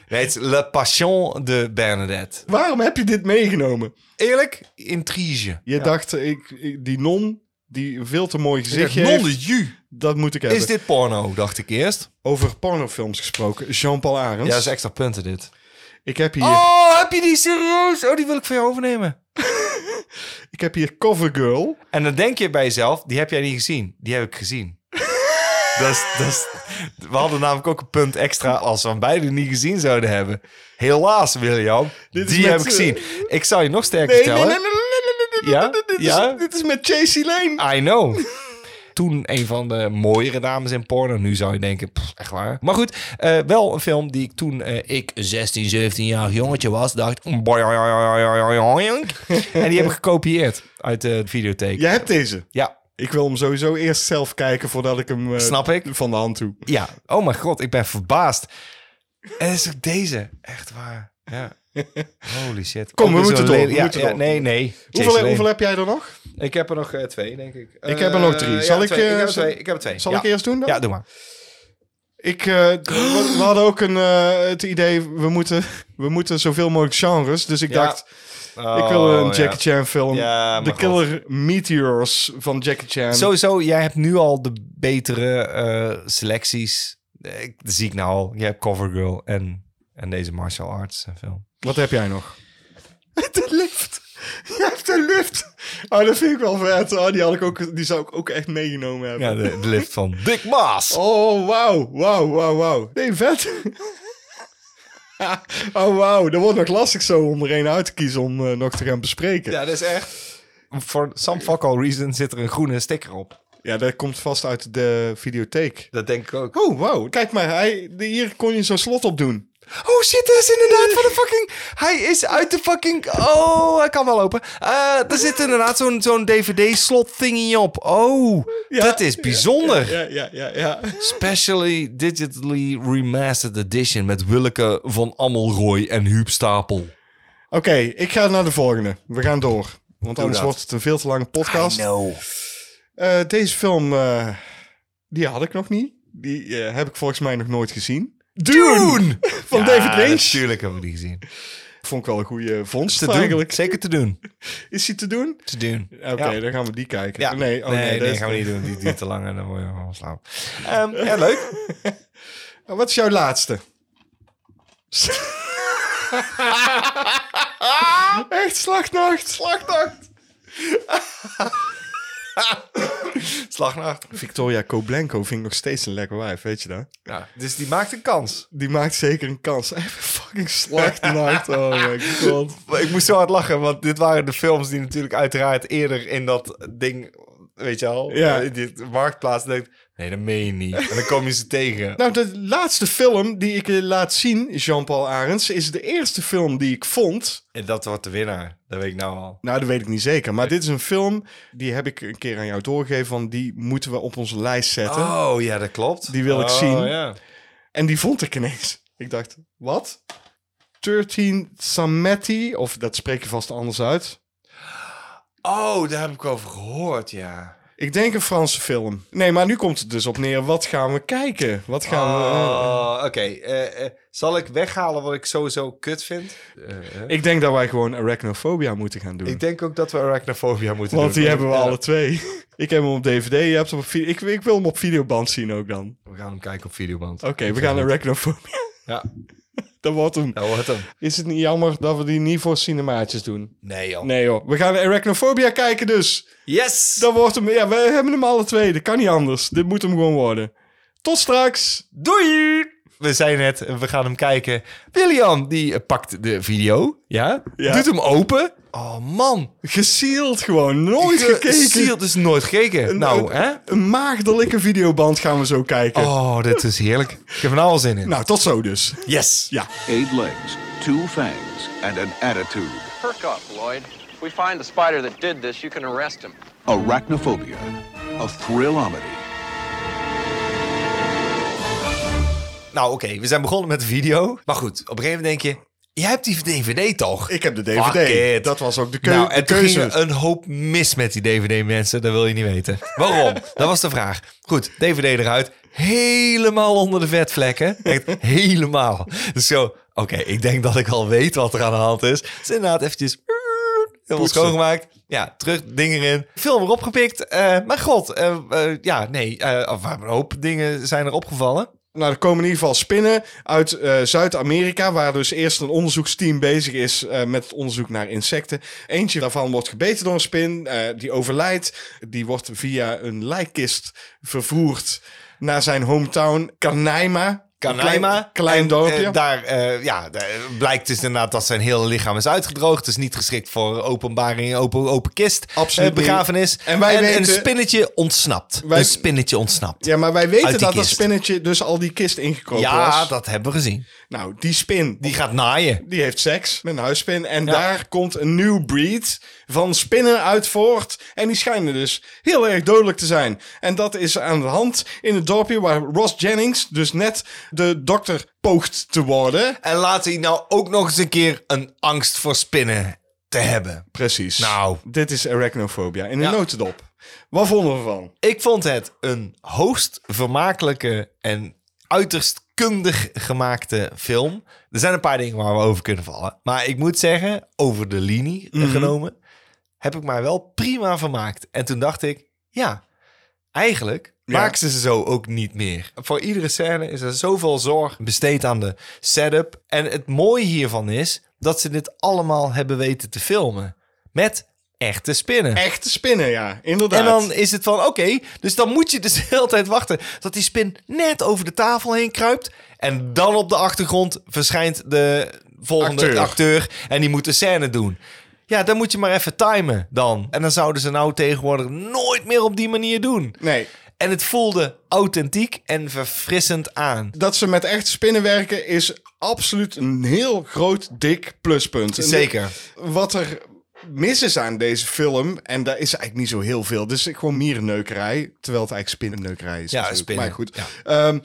Nee, het is Le Passion de Bernadette.
Waarom heb je dit meegenomen?
Eerlijk, intrige.
Je dacht, ik, ik- die non, die veel te mooi
Ik dacht,
gezichtje
non
heeft,
de ju.
dat moet ik hebben.
Is dit porno, dacht ik eerst.
Over pornofilms gesproken, Jean-Paul Arends.
Ja, dat is extra punten dit.
Ik heb hier,
Oh, heb je die serieus? Oh, die wil ik van jou overnemen.
ik heb hier Covergirl.
En dan denk je bij jezelf, die heb jij niet gezien. Die heb ik gezien. dat is, dat is, we hadden namelijk ook een punt extra als we hem beide niet gezien zouden hebben. Helaas, William.
Dit is
die
met,
heb ik
eh,
gezien. Ik zal je nog sterker vertellen.
nee,
Ja?
Dit,
Ja? Ah.
Is, dit is met Chasey Lane.
I know. Toen een van de mooiere dames in porno. Nu zou je denken, pff, echt waar. Maar goed, eh, wel een film die ik toen eh, ik 16, 17-jarig jongetje was, dacht... mm, En die heb ik gekopieerd uit de videotheek.
Jij hebt deze.
Ja,
Ik wil hem sowieso eerst zelf kijken voordat ik hem eh,
Snap ik.
van de hand doe.
ja. Oh mijn god, ik ben verbaasd. En dat is ook deze. Echt waar. Ja. Holy shit.
Kom, we
Ook weer
moeten
zo'n
door,
le-
we
Ja,
moeten
ja,
door.
nee, nee.
Hoeveel,
Jason
hoeveel
Lee.
heb jij er nog?
Ik heb er nog eh, twee, denk ik.
Ik heb er nog drie.
Eh,
Zal
ja,
ik,
twee.
eh,
ik heb er
zal-
twee. Ik heb er twee.
Zal
Ja.
ik eerst doen dan?
Ja, doe maar.
Ik, eh, we- we hadden ook een, eh, het idee, we moeten, we moeten zoveel mogelijk genres. Dus ik
Ja.
dacht, ik wil een
Oh, ja.
Jackie Chan film.
Ja,
de
maar goed.
Killer Meteors van Jackie Chan.
Sowieso, jij hebt nu al de betere eh, selecties. Eh, Ik, dat zie ik nou al. Je hebt Covergirl en, en deze martial arts eh, film.
Wat heb jij nog? De lift. Je hebt de lift. Oh, dat vind ik wel vet. Oh, die, had ik ook, die zou ik ook echt meegenomen hebben.
Ja, de, de lift van Dick Maas.
Oh, wauw, wauw, wauw, wauw. Nee, vet. oh, wauw. Dat wordt nog lastig zo om er één uit te kiezen om eh, nog te gaan bespreken. Ja.
dat is echt... For some fuck all reason zit er een groene sticker op.
dat komt vast uit de videotheek.
Dat denk ik ook.
Oh, wauw. Kijk maar, hij, de- hier kon je zo'n slot op doen.
Oh shit, dat is inderdaad van de fucking... Hij is uit de fucking... Oh, hij kan wel open. Eh, er zit inderdaad zo'n zo'n DVD-slot thingy op. Oh,
Ja.
dat is bijzonder.
Ja, ja, ja, ja.
Specially Digitally Remastered Edition met Willeke van Ammelrooy en Huub Stapel.
Oké, ik ga naar de volgende. We gaan door. Want anders
dat.
wordt het een veel te lange podcast. Eh, deze film, eh, die had ik nog niet. Die eh, heb ik volgens mij nog nooit gezien.
Dune!
van David Lynch.
Natuurlijk hebben we die gezien.
Vond ik wel een goede vondst
Te doen.
eigenlijk.
Zeker te doen.
Is die te doen?
Te doen.
Oké, dan gaan we die kijken.
Ja.
Nee, oh, nee,
nee, nee,
dat is-
gaan we niet doen. Die duurt te lang en dan word je gewoon slapen. Ehm, ja, leuk.
Oh, Wat is jouw laatste? Echt slachtnacht. Slachtnacht.
Slagnacht.
Victoria Koblenko vind ik nog steeds een lekker wijf, weet je dat?
Ja, dus die maakt een kans.
Die maakt zeker een kans. Even fucking slachtnacht. Oh my god.
Maar ik moest zo hard lachen, want dit waren de films die natuurlijk uiteraard eerder in dat ding, weet je al,
Ja.
in die marktplaats denkt, nee, dat meen je niet. En dan kom je ze tegen.
Nou, de laatste film die ik je laat zien, Jean-Paul Arends, is de eerste film die ik vond.
En dat wordt de winnaar. Dat weet ik nou al.
Nou, dat weet ik niet zeker. Maar dit is een film, die heb ik een keer aan jou doorgegeven. Van die moeten we op onze lijst zetten.
Oh, ja, dat klopt.
Die wil ik
Oh,
zien.
ja.
En die vond ik ineens. Ik dacht, wat? 13 Sameti, of dat spreek je vast anders uit.
Oh, daar heb ik over gehoord, ja.
Ik denk een Franse film. Nee, maar nu komt het dus op neer. Wat gaan we kijken? Wat gaan we...
Oh, oké. Eh, eh, zal ik weghalen wat ik sowieso kut vind? Eh, eh.
Ik denk dat wij gewoon Arachnophobia moeten gaan doen.
Ik denk ook dat we arachnophobia moeten
Want
doen.
die hebben we
Ja.
alle twee. Ik heb hem op DVD, je hebt hem op video. Ik, ik wil hem op videoband zien ook dan.
We gaan hem kijken op videoband.
Oké, we gaan Arachnophobia.
Ja,
Dat wordt hem.
dat wordt Nou, hem.
Is het niet jammer dat we die niet voor cinemaatjes doen?
Nee, joh.
Nee joh, we gaan Arachnophobia kijken dus.
Yes!
Dan wordt hem. Ja, we hebben hem alle twee. Dat kan niet anders. Dit moet hem gewoon worden. Tot straks.
Doei! We zijn het, we gaan hem kijken. William, die eh, pakt de video. Ja?
Ja.
Doet hem open. Oh man.
Gesield gewoon. Nooit gekeken.
Ziel, dus nooit gekeken. Nou,
een-
hè?
Een maagdelijke videoband gaan we zo kijken.
Oh, dit is heerlijk. Ik heb er nou al zin in.
Nou, tot zo dus.
Yes.
Ja.
eight legs, two fangs, and an attitude.
Perk up, Lloyd. If we find the spider that did this, you can arrest him.
Arachnophobia, a thrillometer.
Nou, oké, we zijn begonnen met de video. Maar goed, op een gegeven moment denk je... Jij hebt die DVD toch?
Ik heb de
Fuck
DVD.
it.
Dat was ook de, keu-
nou,
de
en toen
keuze.
ging er een hoop mis met die DVD-mensen. Dat wil je niet weten. Waarom? dat was de vraag. Goed, DVD eruit. Helemaal onder de vetvlekken. Echt helemaal. Dus zo, oké, ik denk dat ik al weet wat er aan de hand is. Dus inderdaad eventjes... Helemaal
Poetsen.
schoongemaakt. Ja, terug, dingen erin. Film weer opgepikt. Eh maar god, eh, eh, ja, nee. eh, of een hoop dingen zijn er opgevallen.
Nou, er komen in ieder geval spinnen uit eh, Zuid-Amerika, waar dus eerst een onderzoeksteam bezig is eh, met het onderzoek naar insecten. Eentje daarvan wordt gebeten door een spin, eh, die overlijdt. Die wordt via een lijkkist vervoerd naar zijn hometown Canaima.
Canaima.
Klein, klein
En,
dorpje.
eh, daar eh, ja, daar blijkt dus inderdaad dat zijn hele lichaam is uitgedroogd. Dus niet geschikt voor openbaring, open, open kist.
Absoluut
eh, begrafenis.
niet. En wij weten-
een spinnetje ontsnapt.
Wij-
Een spinnetje ontsnapt. Ja,
ja, maar wij weten dat
Uit die
dat
kist.
spinnetje dus al die kist ingekropen was.
dat hebben we gezien.
Nou, die spin,
Die gaat naaien.
Die heeft seks met een huisspin. En daar komt een nieuw breed van spinnen uit voort. En die schijnen dus heel erg dodelijk te zijn. En dat is aan de hand in het dorpje waar Ross Jennings dus net de dokter poogt te worden.
En laat hij nou ook nog eens een keer een angst voor spinnen te hebben.
Precies.
Nou.
Dit is arachnophobia in een
Ja.
notendop. Wat vonden we van?
Ik vond het een hoogst vermakelijke en uiterst kundig gemaakte film. Er zijn een paar dingen waar we over kunnen vallen. Maar ik moet zeggen, over de linie eh, genomen, heb ik mij wel prima vermaakt. En toen dacht ik, ja, eigenlijk
Ja.
maken ze ze zo ook niet meer. Voor iedere scène is er zoveel zorg besteed aan de setup. En het mooie hiervan is dat ze dit allemaal hebben weten te filmen. Met echte spinnen.
Echte spinnen, ja. Inderdaad.
En dan is het van, oké, dus dan moet je dus de hele tijd wachten dat die spin net over de tafel heen kruipt. En dan op de achtergrond verschijnt de volgende
Acteur.
acteur, en die moet de scène doen. Ja, dan moet je maar even timen dan. En dan zouden ze nou tegenwoordig nooit meer op die manier doen.
Nee.
En het voelde authentiek en verfrissend aan.
Dat ze met echte spinnen werken is absoluut een heel groot, dik pluspunt. En
Zeker.
Wat er mis is aan deze film, en daar is eigenlijk niet zo heel veel. Dus gewoon mierenneukerij, terwijl het eigenlijk spinnenneukerij is.
Ja,
natuurlijk.
spinnen,
Maar goed.
ja.
Ehm,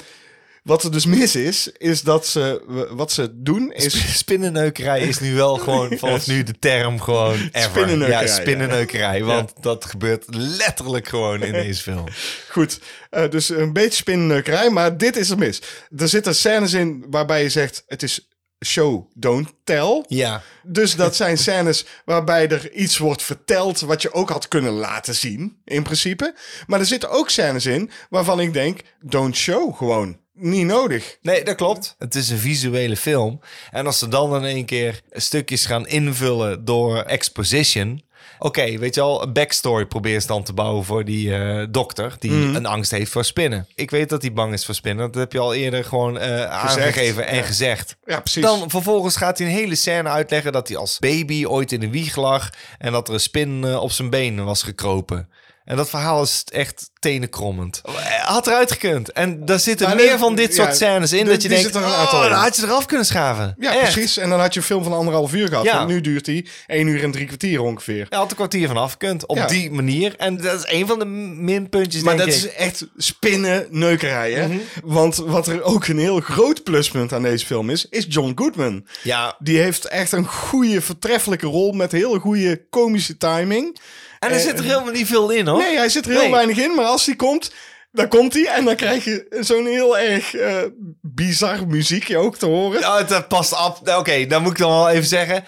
Wat er dus mis is, is dat ze... w- Wat ze doen is...
Sp- Spinnenneukerij is nu wel gewoon vanaf nu de term gewoon ever.
Spinnenneukerij,
Ja, spinnenneukerij. Want dat gebeurt letterlijk gewoon in deze film.
Goed, eh, dus een beetje spinnenneukerij, maar dit is er mis. Er zitten scènes in waarbij je zegt... Het is show, don't tell.
Ja.
Dus dat zijn scènes waarbij er iets wordt verteld wat je ook had kunnen laten zien, in principe. Maar er zitten ook scènes in waarvan ik denk, don't show gewoon. Niet nodig.
Nee, dat klopt. Het is een visuele film. En als ze dan in één keer stukjes gaan invullen door exposition. Oké, weet je al, een backstory probeer ze dan te bouwen voor die eh, dokter die een angst heeft voor spinnen. Ik weet dat hij bang is voor spinnen. Dat heb je al eerder gewoon eh, aangegeven en gezegd.
Ja, precies.
Dan vervolgens gaat hij een hele scène uitleggen dat hij als baby ooit in de wieg lag en dat er een spin eh, op zijn been was gekropen. En dat verhaal is echt tenenkrommend. Had eruit gekund. En daar zitten
Maar
meer
dit-
van dit
ja,
soort scènes in
dit-
dat je
dit
denkt,
zit er een
oh,
aantal
dan
in."
had je eraf kunnen schaven.
Ja,
Echt.
precies. En dan had je een film van anderhalf uur gehad.
Ja.
Want nu duurt die 1 uur en drie kwartier ongeveer.
Je had een kwartier van af gekund op
Ja.
die manier. En dat is een van de minpuntjes,
Maar
denk
dat
ik.
is echt spinnenneukerij, hè? Mhm. Want wat er ook een heel groot pluspunt aan deze film is, is John Goodman.
Ja.
Die heeft echt een goede, vertreffelijke rol met hele goede komische timing.
En er zit er helemaal niet veel in, hoor.
eh, Nee, hij zit er heel
Nee.
weinig in, maar als hij komt, dan komt hij. En dan krijg je zo'n heel erg eh, bizar muziekje ook te horen.
Ja, dat past af. Nou, Oké, dan moet ik dan wel even zeggen.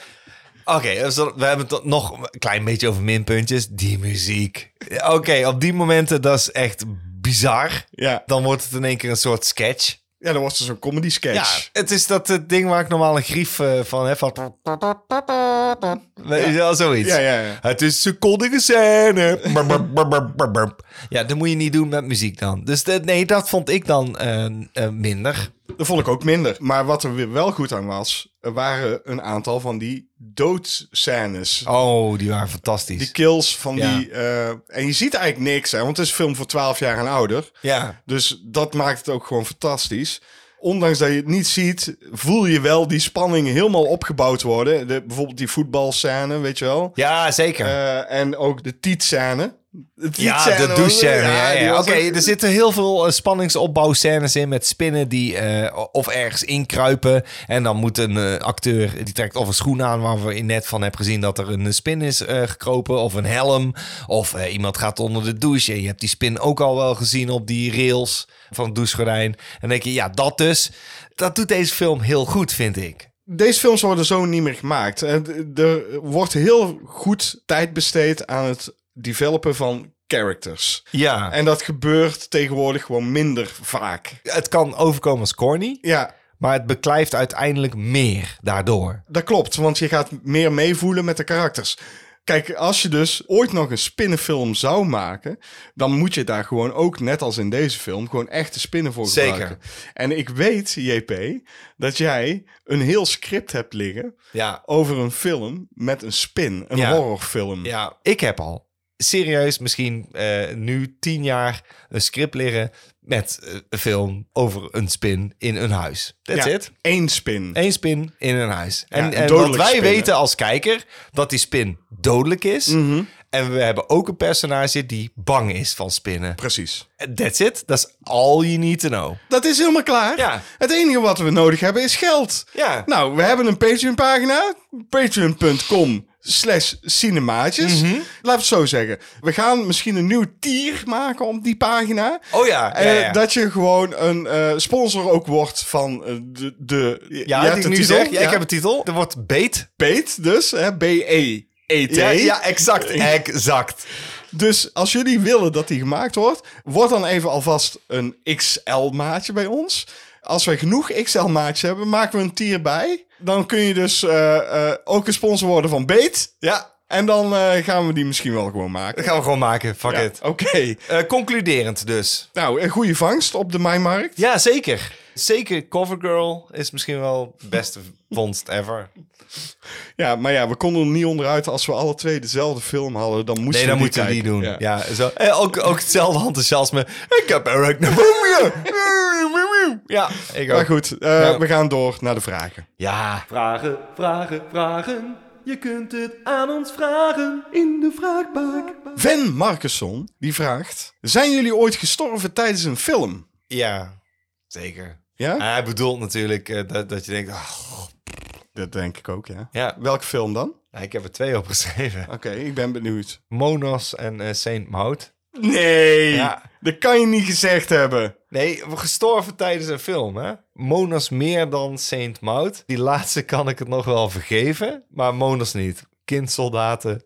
Oké, dus dan- we hebben het nog een klein beetje over minpuntjes. Die muziek. Oké, op die momenten, dat is echt bizar.
Ja.
Dan wordt het in één keer een soort sketch.
Ja, dan was er zo'n comedy
Ja,
sketch.
het is dat eh, ding waar ik normaal een grief eh, van heb. Van... Weet je wel, zoiets.
Ja, ja, ja.
Het is secondige scène. Brr, brr, brr, brr, brr, brr. Ja, dat moet je niet doen met muziek dan. Dus dat- nee, dat vond ik dan eh, eh, minder.
Dat vond ik ook minder. Maar wat er weer wel goed aan was, er waren een aantal van die doodscènes.
Oh, die waren fantastisch.
Die kills van
Ja.
die... eh, en je ziet eigenlijk niks, hè, want het is een film voor 12 jaar en ouder.
Ja.
Dus dat maakt het ook gewoon fantastisch. Ondanks dat je het niet ziet, voel je wel die spanning helemaal opgebouwd worden. De, bijvoorbeeld die voetbalscène, weet je wel.
Ja, zeker.
Eh, en ook de tietscène. De
Ja, de
was-
douche-scène. Ja,
die
ja. Oké,
was ook-
er zitten heel veel eh, spanningsopbouwscènes in met spinnen die eh, of ergens inkruipen. En dan moet een eh, acteur, die trekt of een schoen aan waar we net van hebben gezien dat er een eh, spin is eh, gekropen. Of een helm. Of eh, iemand gaat onder de douche. En je hebt die spin ook al wel gezien op die rails van het douchegordijn. En dan denk je, ja, dat dus. Dat doet deze film heel goed, vind ik.
Deze films worden zo niet meer gemaakt. En d- Er wordt heel goed tijd besteed aan het developen van characters.
Ja. En
En dat gebeurt tegenwoordig gewoon minder vaak.
het kan overkomen als corny,
Ja,
maar het beklijft uiteindelijk meer daardoor.
Dat klopt, want je gaat meer meevoelen met de karakters. Kijk, als je dus ooit nog een spinnenfilm zou maken, dan moet je daar gewoon ook, net als in deze film, gewoon echte spinnen voor
Zeker.
gebruiken. En ik weet, JP, dat jij een heel script hebt liggen
Ja,
over een film met een spin, een
Ja.
horrorfilm.
Ja, ik heb al serieus misschien eh, nu tien jaar een script liggen met eh, een film over een spin in een huis. That's it.
Eén spin.
Eén spin in een huis. En,
een
en wat
dodelijk
wij
spin, hè?
weten als kijker, dat die spin dodelijk is.
Mhm.
En we hebben ook een personage die bang is van spinnen.
Precies.
That's it. Dat is all you need to know.
Dat is helemaal klaar.
Ja.
Het enige wat we nodig hebben is geld.
Ja.
Nou, we hebben een Patreon-pagina. Patreon.com slash cinemaatjes.
Mhm.
Laten we het zo zeggen. We gaan misschien een nieuw tier maken op die pagina.
Oh ja, ja,
Eh,
ja.
dat je gewoon een eh, sponsor ook wordt van eh, de... de je
Ja,
hebt
die
de
ik nu
titel?
zeg. Ja,
Ja.
Ik heb een titel. Er wordt beet.
Peet dus, hè, B-E. E-T.
Ja, ja, exact. Exact.
Dus als jullie willen dat die gemaakt wordt, word dan even alvast een XL-maatje bij ons. Als we genoeg XL-maatjes hebben, maken we een tier bij. Dan kun je dus eh, eh, ook een sponsor worden van Beet.
Ja,
En dan eh, gaan we die misschien wel gewoon maken.
dat gaan we gewoon maken. Fuck
Ja,
it.
Oké.
Eh, concluderend dus.
Nou, een goede vangst op de Maimarkt.
Ja, zeker. Zeker, Covergirl is misschien wel de beste vondst ever.
Ja, maar ja, we konden er niet onderuit. Als we alle twee dezelfde film hadden, dan moesten
Nee, dan
we die
moeten we die doen.
kijken.
Ja. zo. En ook, ook hetzelfde enthousiasme. Ik heb arachnophobia. Ja, ik
Maar
ook.
goed, eh,
Ja.
we gaan door naar de vragen.
Ja,
Vragen, vragen, vragen. Je kunt het aan ons vragen in de vraagbaak.
Van Marcusson, die vraagt... Zijn jullie ooit gestorven tijdens een film?
ja, zeker.
Ja?
Hij bedoelt natuurlijk eh, dat, dat je denkt, ah,
Dat denk ik ook, ja.
ja,
Welke film dan?
ik heb er twee opgeschreven.
Oké, ik ben benieuwd.
Monos en eh, Saint Maud.
Nee,
Ja.
dat kan je niet gezegd hebben.
Nee, gestorven tijdens een film, hè? Monos meer dan Saint Maud. Die laatste kan ik het nog wel vergeven, maar Monos niet. Kindsoldaten.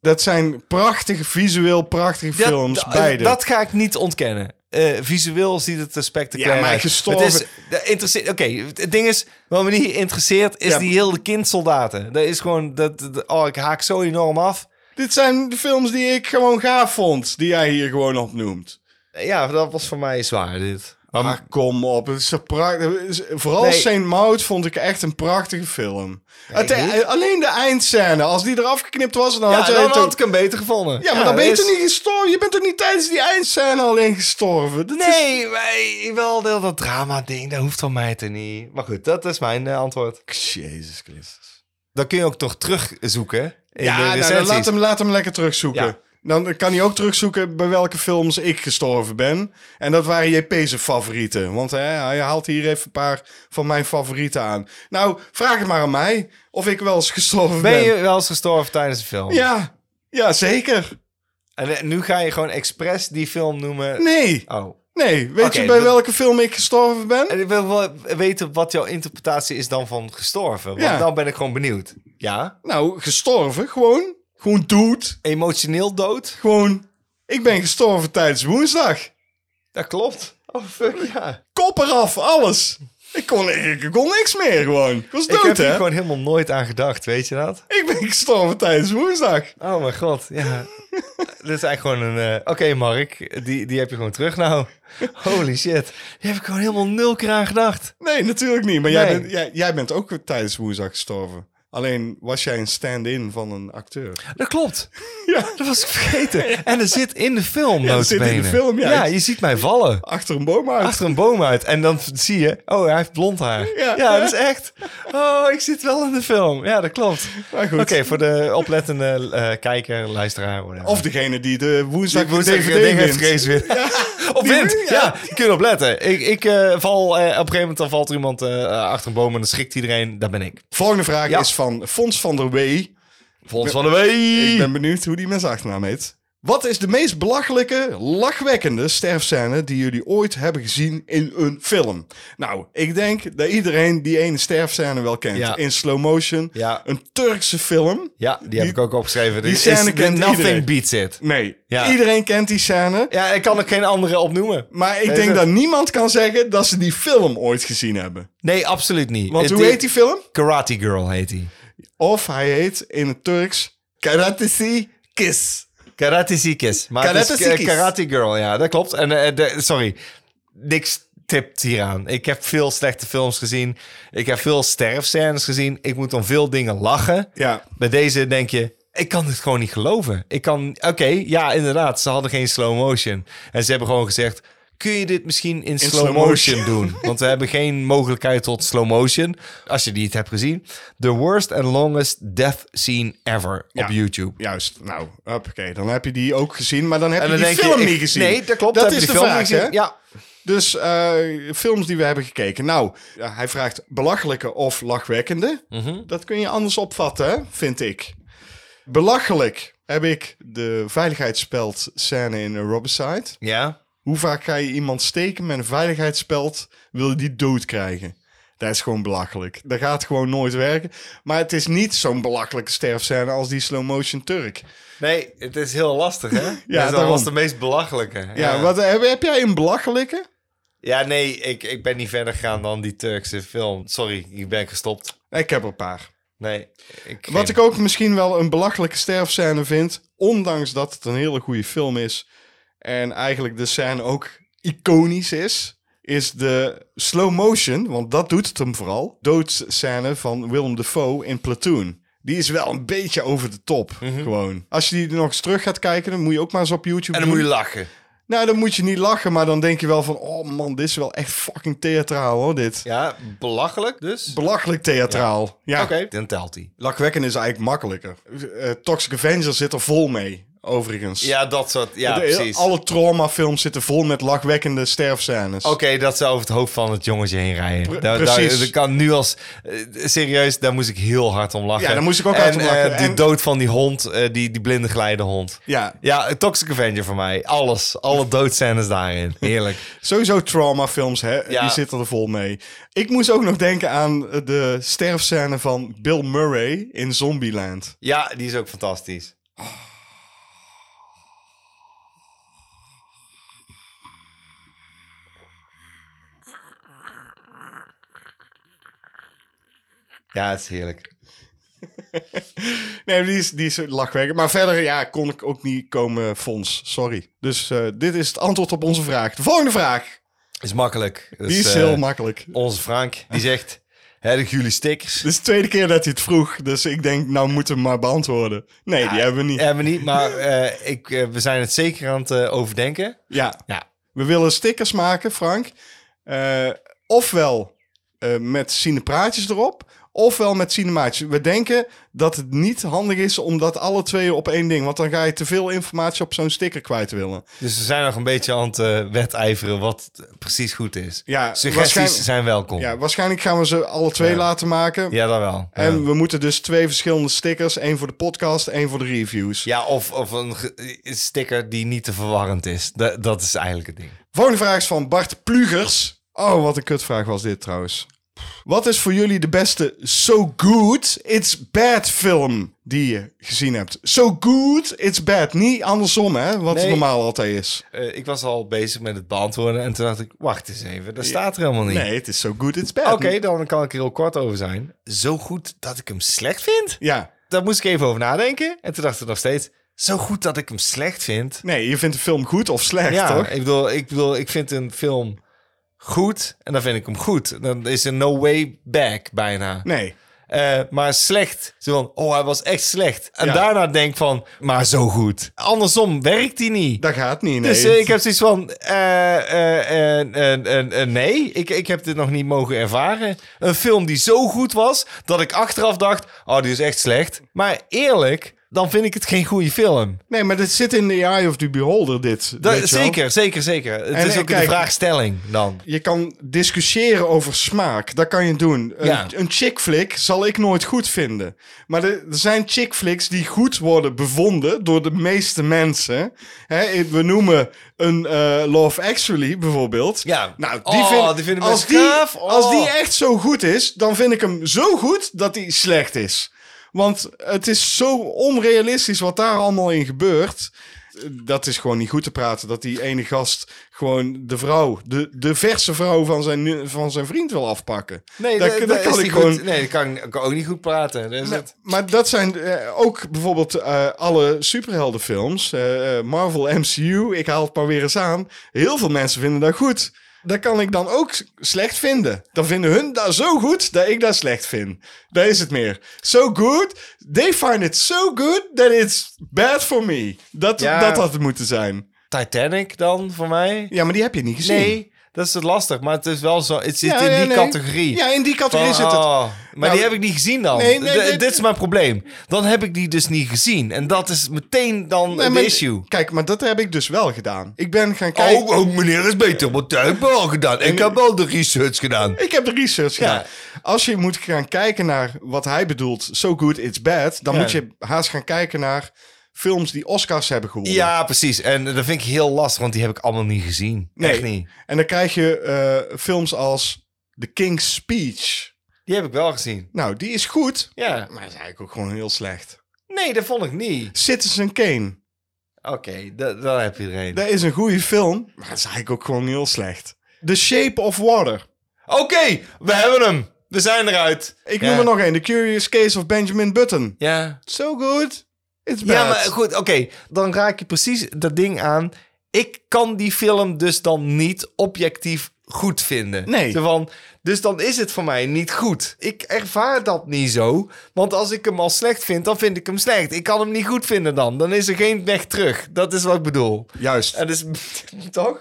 Dat zijn prachtige, visueel prachtige films,
dat,
beide.
Dat ga ik niet ontkennen. Eh, visueel ziet het er spectaculair
Ja, maar
uit.
gestorven-
Het is, de- interesseert- Oké, het ding is, wat me niet interesseert, is
Ja.
die hele kindsoldaten. Dat is gewoon, dat, dat- oh, ik haak zo enorm af.
Dit zijn de films die ik gewoon gaaf vond, die jij hier gewoon opnoemt.
Ja, dat was voor mij zwaar, dit.
Ah, kom op. Het is zo prachtig. Het is- Vooral
Nee.
Saint Maud vond ik echt een prachtige film. Het- eh,
niet.
alleen de eindscène. Als die eraf geknipt was, dan had
ja,
je
dan
het ook-
had ik hem beter gevonden.
Ja, maar dan ben je
dat
toch
is-
niet gestorven? Je bent toch niet tijdens die eindscène alleen gestorven? Dat is-
Nee, maar wel dat- dat drama-ding, dat hoeft van mij te niet. Maar goed, dat is mijn eh, antwoord.
Jezus Christus.
Dan kun je ook toch terugzoeken in
ja,
de
nou, dan
recensies.
laat, hem, laat hem lekker terugzoeken.
Ja.
Dan kan hij ook terugzoeken bij welke films ik gestorven ben. En dat waren JP's favorieten. Want hè, hij haalt hier even een paar van mijn favorieten aan. Nou, vraag het maar aan mij of ik wel eens gestorven ben.
Ben je wel eens gestorven tijdens een film?
Ja, ja, zeker.
En eh, nu ga je gewoon expres die film noemen.
Nee,
Oh.
nee. Weet
Oké,
je bij
dat-
welke film ik gestorven ben?
En ik wil wel weten wat jouw interpretatie is dan van gestorven. Want
Ja.
dan ben ik gewoon benieuwd. Ja?
Nou, gestorven, gewoon. Gewoon dood.
Emotioneel dood?
Gewoon, ik ben gestorven tijdens woensdag.
Dat klopt. Oh, fuck ja.
Kop eraf, alles. Ik kon, ik kon niks meer gewoon. Ik was
Ik heb
dood,
hier
hè?
gewoon helemaal nooit aan gedacht, weet je dat?
Ik ben gestorven tijdens woensdag.
Oh mijn god, ja. Dit is eigenlijk gewoon een... eh, Oké, Mark, die, die heb je gewoon terug nou. Holy shit. Die heb ik gewoon helemaal nul keer aan gedacht.
Nee, natuurlijk niet. Maar jij,
Nee.
bent, jij, jij bent ook tijdens woensdag gestorven. Alleen was jij een stand-in van een acteur.
Dat klopt.
Ja.
Dat was ik vergeten. En dat zit in de film,
Ja, dat zit in de
notabene.
film, ja.
Ja, je ziet mij vallen.
Achter een boom uit.
achter een boom uit. En dan zie je, oh, hij heeft blond haar.
Ja.
Ja, dat is echt. Oh, ik zit wel in de film. Ja, dat klopt.
Maar goed.
Oké, voor de oplettende eh, kijker, luisteraar. whatever.
Of degene die de woensdag,
Die woensdag
DVD
ding heeft
wint.
gerezen weer. Op
Die
wind,
win-
ja.
ja.
Je kunt opletten. Ik, ik eh, val, eh, op een gegeven moment dan valt er iemand eh, achter een boom en dan schrikt iedereen. Dat ben ik.
Volgende vraag
Ja.
is van Fons van der Wee.
Volgens van de week.
Ik ben benieuwd hoe die met zijn achternaam heet. Wat is de meest belachelijke, lachwekkende sterfscène die jullie ooit hebben gezien in een film? Nou, ik denk dat iedereen die ene sterfscène wel kent.
Ja.
In slow motion.
Ja.
Een Turkse film.
Ja, die, heb ik ook opgeschreven.
die
Dit is-
scène kent
Nothing
iedereen.
beats it.
Nee,
Ja.
iedereen kent die scène.
Ja, ik kan er geen andere opnoemen.
Maar ik
Nee,
denk
dat-
dat niemand kan zeggen dat ze die film ooit gezien hebben.
Nee, absoluut niet.
Want
Het-
hoe heet die film?
Karate Girl heet die.
Of hij heet in het Turks Karatesi Kiss.
Karate Zikis. Maar het is,
Karate Zikis.
eh, Karate Girl, ja, dat klopt. En eh, de- sorry, niks tipt hieraan. Ik heb veel slechte films gezien. Ik heb veel sterfscènes gezien. Ik moet om veel dingen lachen.
Ja,
Bij deze denk je, ik kan dit gewoon niet geloven. Ik kan, oké, ja, inderdaad, ze hadden geen slow motion. En ze hebben gewoon gezegd, kun je dit misschien in, slow,
slow
motion,
motion.
doen? Want we hebben geen mogelijkheid tot slow motion, als je die het hebt gezien. The worst and longest death scene ever
Ja.
op YouTube.
juist. Nou, oké, dan heb je die ook gezien, maar dan heb
En
je
dan
die
denk
film
je, ik-
niet gezien.
Nee, dat klopt.
Dat
heb je
is de
die film
vraag,
gezien?
hè?
Ja.
Dus eh, films die we hebben gekeken. Nou, ja, hij vraagt belachelijke of lachwekkende.
Mhm.
Dat kun je anders opvatten, hè? vind ik. Belachelijk heb ik de veiligheidsspeld scène in Robicide.
Ja.
Hoe vaak ga je iemand steken met een veiligheidsspeld? Wil je die dood krijgen? Dat is gewoon belachelijk. Dat gaat gewoon nooit werken. Maar het is niet zo'n belachelijke sterfscène als die slow motion Turk.
Nee, het is heel lastig, hè? ja, dat
daarom.
was de meest belachelijke.
Ja, Wat, heb, heb jij een belachelijke?
ja nee, ik, ik ben niet verder gegaan dan die Turkse film. Sorry, ik ben gestopt.
Ik heb er een paar.
Nee. Ik,
Wat ik ook misschien wel een belachelijke sterfscène vind, ondanks dat het een hele goede film is en eigenlijk de scène ook iconisch is, is de slow motion, want dat doet het hem vooral, doodscène van Willem Dafoe in Platoon. Die is wel een beetje over de top, gewoon. Als je die nog eens terug gaat kijken, dan moet je ook maar eens op YouTube
Mhm. En dan moet je
doen.
lachen.
Nou, dan moet je niet lachen, maar dan denk je wel van... Oh man, dit is wel echt fucking theatraal, hoor, dit.
Ja, belachelijk dus.
Belachelijk theatraal. Ja.
Oké, dan telt hij.
Lachwekkend is eigenlijk makkelijker. Eh, Toxic Avenger zit er vol mee. overigens.
Ja, dat soort. Ja,
De-
precies.
Alle traumafilms zitten vol met lachwekkende sterfscènes.
Oké, dat zou over het hoofd van het jongetje heen rijden.
Pre-
daar, daar-
precies.
dat kan nu als... eh, serieus, daar moest ik heel hard om lachen.
Ja, daar moest ik ook
en,
hard om lachen.
eh, die
En-
dood van die hond, eh, die, die blinde geleidehond.
Ja.
Ja, een Toxic Avenger voor mij. Alles. Alle doodscènes daarin. Heerlijk.
Sowieso traumafilms, hè?
Ja.
Die zitten er vol mee. Ik moest ook nog denken aan de sterfscène van Bill Murray in Zombieland.
ja, die is ook fantastisch. Ja, het is heerlijk.
Nee, die is, die is lachwekkend. Maar verder, ja, kon ik ook niet komen, Fons. Sorry. Dus eh, dit is het antwoord op onze vraag. De volgende vraag.
Is makkelijk.
Die is
eh,
heel makkelijk.
Onze Frank, die zegt... Hebben jullie stickers?
Dit is de tweede keer dat hij het vroeg. Dus ik denk, nou moeten we maar beantwoorden. Nee, die hebben we niet. Ja.
Hebben we niet, maar eh, ik, eh, we zijn het zeker aan het eh, overdenken. Ja.
We willen stickers maken, Frank. Eh, ofwel eh, met cinepraatjes erop, ofwel met cinemaatjes. We denken dat het niet handig is om dat alle twee op één ding. Want dan ga je te veel informatie op zo'n sticker kwijt willen.
Dus we zijn nog een beetje aan het eh, wedijveren wat precies goed is.
Ja, waarschijn-
Suggesties zijn welkom.
Ja, waarschijnlijk gaan we ze alle twee laten maken.
Ja, dan wel.
En
Ja.
we moeten dus twee verschillende stickers. één voor de podcast, één voor de reviews.
Ja, of, of een ge- sticker die niet te verwarrend is. Da- dat is eigenlijk het ding.
Volgende vraag is van Bart Plugers. Oh, wat een kutvraag was dit trouwens. Wat is voor jullie de beste So Good It's Bad film die je gezien hebt? So Good It's Bad. Niet andersom, hè? Wat
Nee.
normaal altijd is.
Eh, ik was al bezig met het beantwoorden en toen dacht ik, wacht eens even, dat staat er helemaal niet.
Nee, het is So Good It's Bad.
Oké, dan kan ik er heel kort over zijn. Zo goed dat ik hem slecht vind?
Ja.
Daar moest ik even over nadenken. En toen dacht ik nog steeds, zo goed dat ik hem slecht vind?
Nee, je vindt de film goed of slecht,
ja,
toch?
Ik bedoel, ik bedoel, ik vind een film goed en dan vind ik hem goed. Dan is er no way back bijna.
Nee.
Eh, maar slecht, zo van, oh, hij was echt slecht. En
Ja.
daarna denk van, maar zo goed. Andersom werkt hij niet.
Dat gaat niet, nee.
dus eh, ik heb zoiets van, eh, eh, eh, eh, eh, eh, nee, ik, ik heb dit nog niet mogen ervaren. Een film die zo goed was, dat ik achteraf dacht, oh, die is echt slecht. Maar eerlijk, dan vind ik het geen goede film.
Nee, maar dit zit in the eye of the beholder, dit.
Dat-
weet je wel.
zeker, zeker, zeker. Het
En,
is
eh,
ook
kijk-
een vraagstelling dan.
Je kan discussiëren over smaak. Dat kan je doen. Een,
Ja.
een chick flick zal ik nooit goed vinden. Maar er er zijn chick flicks die goed worden bevonden door de meeste mensen. Hè, we noemen een eh, Love Actually bijvoorbeeld.
Ja.
Nou, die,
Oh,
vind-
die vinden
als,
mensen
die,
gaaf. Oh.
als die echt zo goed is, dan vind ik hem zo goed dat hij slecht is. Want het is zo onrealistisch wat daar allemaal in gebeurt. Dat is gewoon niet goed te praten. Dat die ene gast gewoon de vrouw, de, de verse vrouw van zijn, nu- van zijn vriend wil afpakken.
Nee,
dat,
dat,
dat
dat is
kan ik
niet
gewoon.
goed. Nee, dat kan ik ook niet goed praten. Dat is
Maar,
het.
maar dat zijn eh, ook bijvoorbeeld eh, alle superheldenfilms. eh, eh, Marvel MCU, ik haal het maar weer eens aan. Heel veel mensen vinden dat goed. Dat kan ik dan ook s- slecht vinden. Dan vinden hun dat zo goed dat ik dat slecht vind. Dat is het meer. So good, they find it so good that it's bad for me. Dat
Ja.
dat, had het moeten zijn.
Titanic dan, voor mij?
Ja, maar die heb je niet gezien.
Nee, dat is het lastig. Maar het is wel zo, het zit
Ja,
in
ja,
die
nee.
categorie.
Ja, in die categorie
Van,
zit het.
oh, maar
Nou,
die heb ik niet gezien dan.
nee, nee,
D-
nee,
dit is mijn probleem. Dan heb ik die dus niet gezien. En dat is meteen dan
Nee,
een
maar-
issue. Oh,
Kijk, maar dat heb ik dus wel gedaan. Ik ben gaan kijken.
meneer is beter, want ik heb wel gedaan. Ik heb wel de research gedaan.
Ik heb de research gedaan. Als je moet gaan kijken naar wat hij bedoelt, so good it's bad, dan
Ja.
moet je haast gaan kijken naar films die Oscars hebben gewonnen.
Ja, precies. En dat vind ik heel lastig, want die heb ik allemaal niet gezien.
Nee.
Echt niet.
En dan krijg je eh, films als The King's Speech.
Die heb ik wel gezien.
Nou, die is goed,
Ja.
maar is eigenlijk ook gewoon heel slecht.
Nee, dat vond ik niet.
Citizen Kane.
Oké, da- dan heb je er een.
Dat is een goede film, maar is eigenlijk ook gewoon heel slecht. The Shape of Water.
Oké, we hebben hem. We zijn eruit.
Ik
Ja.
noem er nog één. The Curious Case of Benjamin Button.
Ja.
So good, it's bad.
Ja, maar goed, oké. Dan raak je precies dat ding aan. Ik kan die film dus dan niet objectief goed vinden.
Nee.
Zo van, dus dan is het voor mij niet goed. Ik ervaar dat niet zo. Want als ik hem al slecht vind, dan vind ik hem slecht. Ik kan hem niet goed vinden dan. Dan is er geen weg terug. Dat is wat ik bedoel.
Juist.
En dus, toch?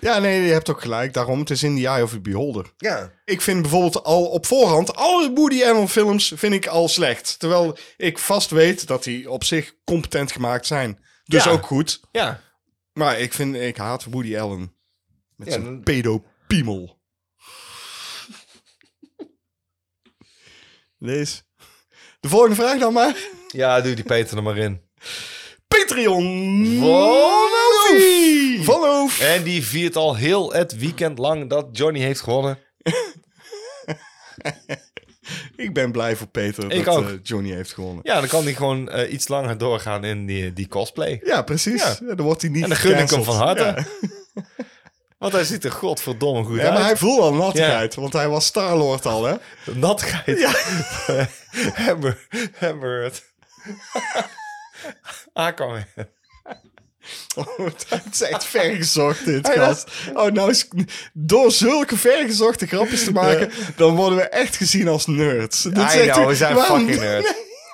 Ja, nee, je hebt ook gelijk. Daarom, het is in the eye of the beholder.
Ja.
Ik vind bijvoorbeeld al op voorhand alle Woody Allen films vind ik al slecht. Terwijl ik vast weet dat die op zich competent gemaakt zijn. Dus
Ja.
ook goed.
Ja.
Maar ik vind, ik haat Woody Allen. Met
Ja,
zijn
dan-
pedopiemel. Lees. De volgende vraag dan maar.
Ja, doe die Peter er maar in.
Patreon
Van Hoef.
Van Hoof.
En die viert al heel het weekend lang dat Johnny heeft gewonnen.
Ik ben blij voor Peter
Ik
dat
ook.
eh, Johnny heeft gewonnen.
Ja, dan kan hij gewoon eh, iets langer doorgaan in die, die cosplay.
Ja, precies.
Ja.
Ja, dan wordt hij niet
En dan gun ik hem
gecanceld.
van harte.
Ja.
Want hij ziet er godverdomme goed
Ja,
uit.
maar hij voelde al nattigheid,
Ja.
want hij was Star-Lord al, hè?
Natgeit.
Ja.
Hammer. Ah, Hammered. Aquaman.
Oh, het is echt vergezocht, dit,
Hij was-
gast. Oh, nou is... Door zulke vergezochte grapjes te maken, dan worden we echt gezien als nerds. Dit is
I
echt-
know, we zijn
waarom-
fucking nerds.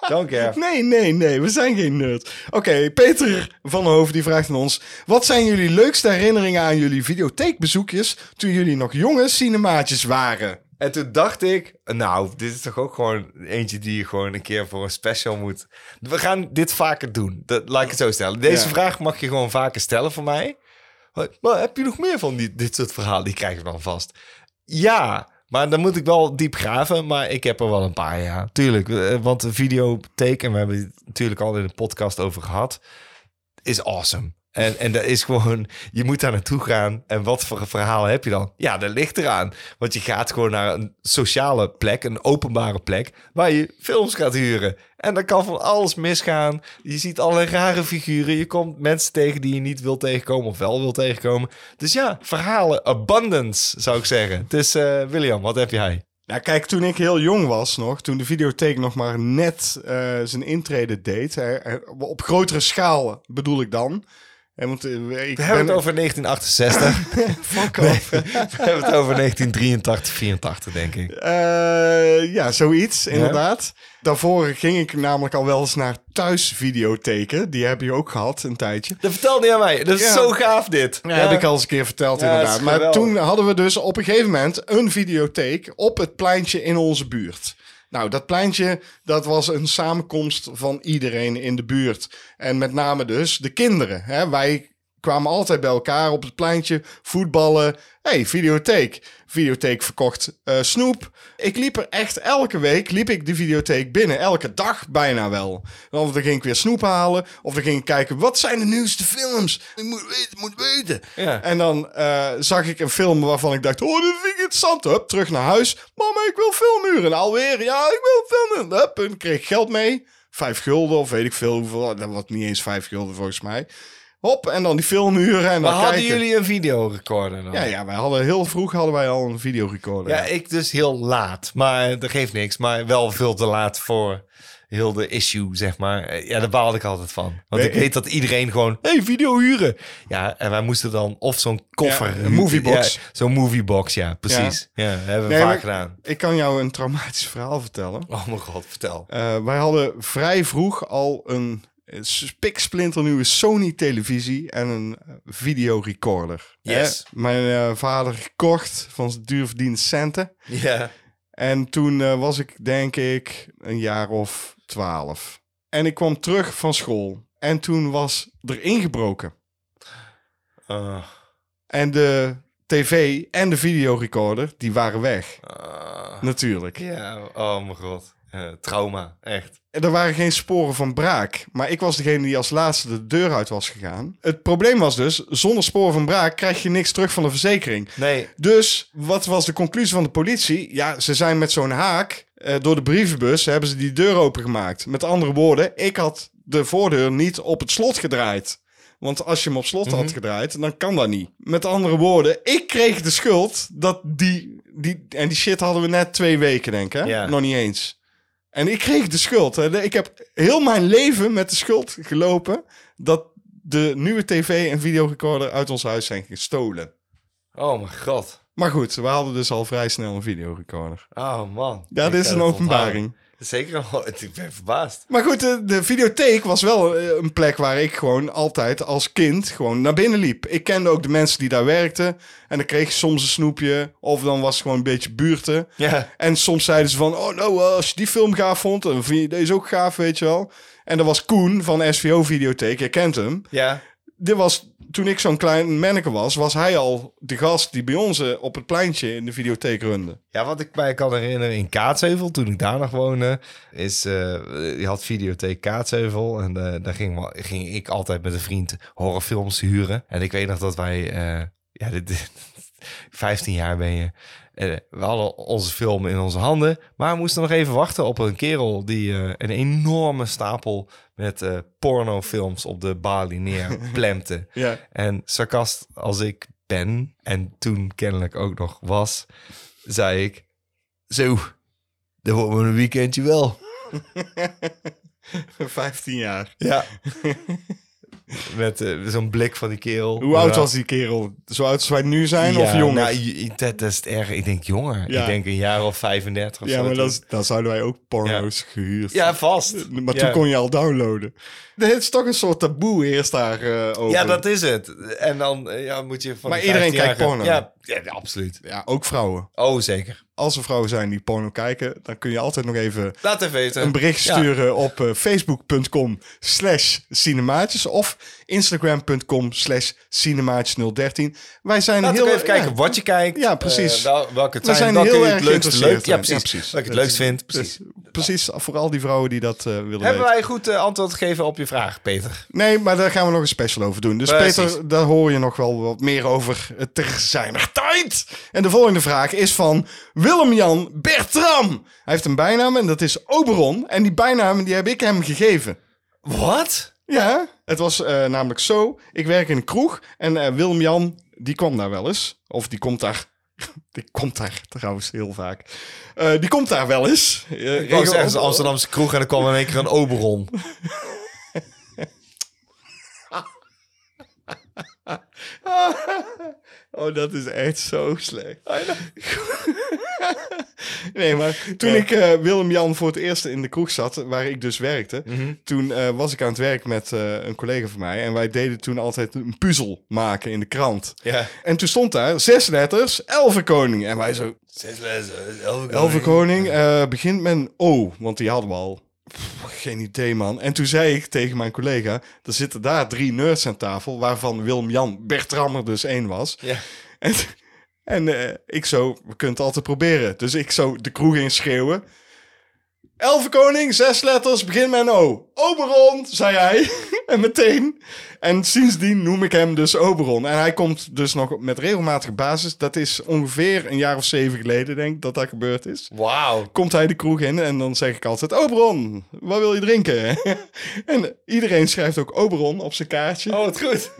Don't care.
Nee, nee, nee, we zijn geen nerds. Oké, Peter van den Hoven die vraagt aan ons... Wat zijn jullie leukste herinneringen aan jullie videotheekbezoekjes... toen jullie nog jonge cinemaatjes waren?
En toen dacht ik, nou, dit is toch ook gewoon eentje die je gewoon een keer voor een special moet. We gaan dit vaker doen. Dat, laat ik het zo stellen. Deze
Ja.
vraag mag je gewoon vaker stellen van mij. Maar, maar heb je nog meer van die, dit soort verhalen? Die krijg ik dan vast. Ja, maar dan moet ik wel diep graven. Maar ik heb er wel een paar, ja. Tuurlijk, eh, want de videotheek, en we hebben het natuurlijk al in de podcast over gehad, is awesome. En, en dat is gewoon, je moet daar naartoe gaan. En wat voor een verhaal heb je dan? Ja, dat ligt eraan. Want je gaat gewoon naar een sociale plek, een openbare plek, waar je films gaat huren. En dan kan van alles misgaan. Je ziet allerlei rare figuren. Je komt mensen tegen die je niet wil tegenkomen of wel wil tegenkomen. Dus ja, verhalen, abundance zou ik zeggen. Dus eh, William, wat heb jij?
Nou, kijk, toen ik heel jong was nog, toen de videotheek nog maar net eh, zijn intrede deed, hè, eh, op grotere schaal bedoel ik dan. En want eh, ik
We hebben
ben
het over 1968.
Fuck
Nee,
off.
we hebben het over 1983, 84 denk ik.
Eh, ja, zoiets, inderdaad. Daarvoor ging ik namelijk al wel eens naar thuisvideotheken. Die heb je ook gehad een tijdje.
Dat vertelde je aan mij. Dat is
Ja.
zo gaaf dit.
Ja. Heb ik al eens een keer verteld,
Ja, dat
inderdaad.
is
Maar
geweldig.
toen hadden we dus op een gegeven moment een videotheek op het pleintje in onze buurt. Nou, dat pleintje, dat was een samenkomst van iedereen in de buurt. En met name dus de kinderen. Hè? Wij kwamen altijd bij elkaar op het pleintje, voetballen. hey, videotheek. Videotheek verkocht eh, snoep. Ik liep er echt elke week, liep ik de videotheek binnen. Elke dag bijna wel. Of dan ging ik weer snoep halen. Of dan ging ik kijken, wat zijn de nieuwste films? Ik moet weten, moet weten.
Ja.
En dan eh, zag ik een film waarvan ik dacht, oh, dit vind ik interessant. Hup, terug naar huis. Mama, ik wil filmuren. Alweer, ja, ik wil filmen. Hup, en kreeg ik geld mee. Vijf gulden of weet ik veel hoeveel. Dat was niet eens vijf gulden volgens mij. Hop, en dan die filmuren en dan
Maar hadden
kijken.
jullie een videorecorder dan?
Ja, ja, wij hadden heel vroeg hadden wij al een videorecorder.
Ja, ik dus heel laat. Maar dat geeft niks. Maar wel veel te laat voor heel de issue, zeg maar. Ja, daar baalde ik altijd van. Want
Nee,
ik weet dat iedereen gewoon... hey, video huren! Ja, en wij moesten dan of zo'n koffer...
Ja, een
huren.
moviebox.
Ja, zo'n moviebox, ja, precies. Ja, dat hebben we
Nee,
vaak
maar-
gedaan.
Ik kan jou een traumatisch verhaal vertellen.
Oh mijn god, vertel.
Eh, wij hadden vrij vroeg al een spiksplinternieuwe Sony-televisie en een eh, videorecorder.
Yes.
Hè? Mijn eh, vader gekocht van zijn duurverdiende centen.
Ja.
En toen eh, was ik denk ik een jaar of twaalf. En ik kwam terug van school. En toen was er ingebroken.
Ah,
En de tv en de videorecorder, die waren weg.
ah.
Natuurlijk.
ja, oh mijn god. Eh, trauma, echt.
En Er waren geen sporen van braak. Maar ik was degene die als laatste de deur uit was gegaan. Het probleem was dus, zonder sporen van braak krijg je niks terug van de verzekering.
Nee,
Dus wat was de conclusie van de politie? Ja, ze zijn met zo'n haak eh, door de brievenbus hebben ze die deur opengemaakt. Met andere woorden, ik had de voordeur niet op het slot gedraaid. Want als je hem op slot had gedraaid, dan kan dat niet. Met andere woorden, ik kreeg de schuld dat die, die... En die shit hadden we net twee weken, denk ik. hè?
Ja.
Nog niet eens. En ik kreeg de schuld. Hè. Ik heb heel mijn leven met de schuld gelopen... dat de nieuwe tv en videorecorder uit ons huis zijn gestolen.
oh mijn god.
Maar goed, we hadden dus al vrij snel een videorecorder.
Oh man.
Ja,
Ik
dit is
ga
een
dit onthouden.
openbaring.
Zeker al. Ik ben verbaasd.
Maar goed, de, de videotheek was wel eh, een plek waar ik gewoon altijd als kind gewoon naar binnen liep. Ik kende ook de mensen die daar werkten. En dan kreeg je soms een snoepje. Of dan was het gewoon een beetje buurten.
Ja.
En soms zeiden ze van, oh nou, eh, als je die film gaaf vond, dan vind je deze ook gaaf, weet je wel. En dat was Koen van SVO Videotheek, je kent hem.
Ja.
Dit was, toen ik zo'n klein manneke was, was hij al de gast die bij ons eh, op het pleintje in de videotheek runde.
Ja, wat ik mij kan herinneren in Kaatsheuvel, toen ik daar nog woonde, is, eh, je had videotheek Kaatsheuvel en eh, daar ging, wa- ging ik altijd met een vriend horrorfilms huren. En ik weet nog dat wij, eh, ja, dit, dit- 15 jaar ben je, Eh, we hadden onze film in onze handen, maar we moesten nog even wachten op een kerel die eh, een enorme stapel met eh, pornofilms op de balie neerplemte.
Ja.
En sarcast als ik ben, en toen kennelijk ook nog was, zei ik... Zo, dat wordt me een weekendje wel.
15 jaar.
Ja. Met eh, zo'n blik van die kerel.
Hoe oud was die kerel? Zo oud als wij nu zijn
Ja,
of jonger?
nou, je- je- dat, dat is het erg. Ik denk jonger.
Ja.
Ik denk een jaar of 35 of
ja,
zo.
maar
toen.
dat, is- dan zouden wij ook porno's gehuurd.
Ja, vast.
Maar
ja.
toen kon je al downloaden. Nee, het is toch een soort taboe eerst daar eh, over.
Ja, dat is het. En dan eh, ja, moet je van
Maar
die
iedereen kijkt
15-jarige
porno.
Ja, ja, absoluut.
Ja, ook vrouwen.
Oh, zeker.
Als er vrouwen zijn die porno kijken, dan kun je altijd nog even
Laat even weten.
een bericht
eh, Ja.
sturen op eh, facebook.com slash cinemaatjes of instagram.com slash cinemaatjes013. Wij zijn
Laat
heel...
ook even kijken
ja,
wat je kijkt.
Ja, precies.
eh, wel- welke
We
zijn,
zijn
dat
heel
kun je
erg
het leukst
geïnteresseerd,
leuk. Ja,
ja,
precies.
precies.
Wat ik het
Dat
leukst
is-
vind. Precies.
Dus precies, vooral die vrouwen die dat eh, willen
Hebben
weten.
wij goed eh, antwoord gegeven op je vraag, Peter?
Nee, maar daar gaan we nog een special over doen. Dus
Precies.
Peter, daar hoor je nog wel wat meer over eh, te zijn er tijd. En de volgende vraag is van Willem-Jan Bertram. Hij heeft een bijnaam en dat is Oberon. En die bijnaam die heb ik hem gegeven.
Wat?
Ja, het was eh, namelijk zo. Ik werk in een kroeg en eh, Willem-Jan, die kwam daar wel eens. Of die komt daar... Die komt daar trouwens heel vaak. Eh, die komt daar wel eens. Eh,
Ik was
regel-
ergens een Amsterdamse kroeg en er kwam in één keer een Oberon.
Oh, dat is echt zo slecht.
Ah,
nee, maar toen ik eh, Willem-Jan voor het eerst in de kroeg zat, waar ik dus werkte,
Mhm.
toen eh, was ik aan het werk met eh, een collega van mij. En wij deden toen altijd een puzzel maken in de krant.
Ja.
En toen stond daar zes letters, Elfenkoning. En wij zo,
Zes lezen, elke
Elfenkoning eh, begint met een O, want die hadden we al. Pff, geen idee, man. En toen zei ik tegen mijn collega, er zitten daar drie nerds aan tafel, waarvan Willem-Jan Bertram er dus één was.
Ja.
En, en eh, ik zo, we kunnen het altijd proberen. Dus ik zo de kroeg in schreeuwen. Elfenkoning, zes letters, begin met een O. Oberon, zei hij. en meteen. En sindsdien noem ik hem dus Oberon. En hij komt dus nog met regelmatige basis. Dat is ongeveer een jaar of zeven geleden, denk ik, dat dat gebeurd is.
Wauw.
Komt hij de kroeg in en dan zeg ik altijd... Oberon, wat wil je drinken? en iedereen schrijft ook Oberon op zijn kaartje.
Oh, wat goed.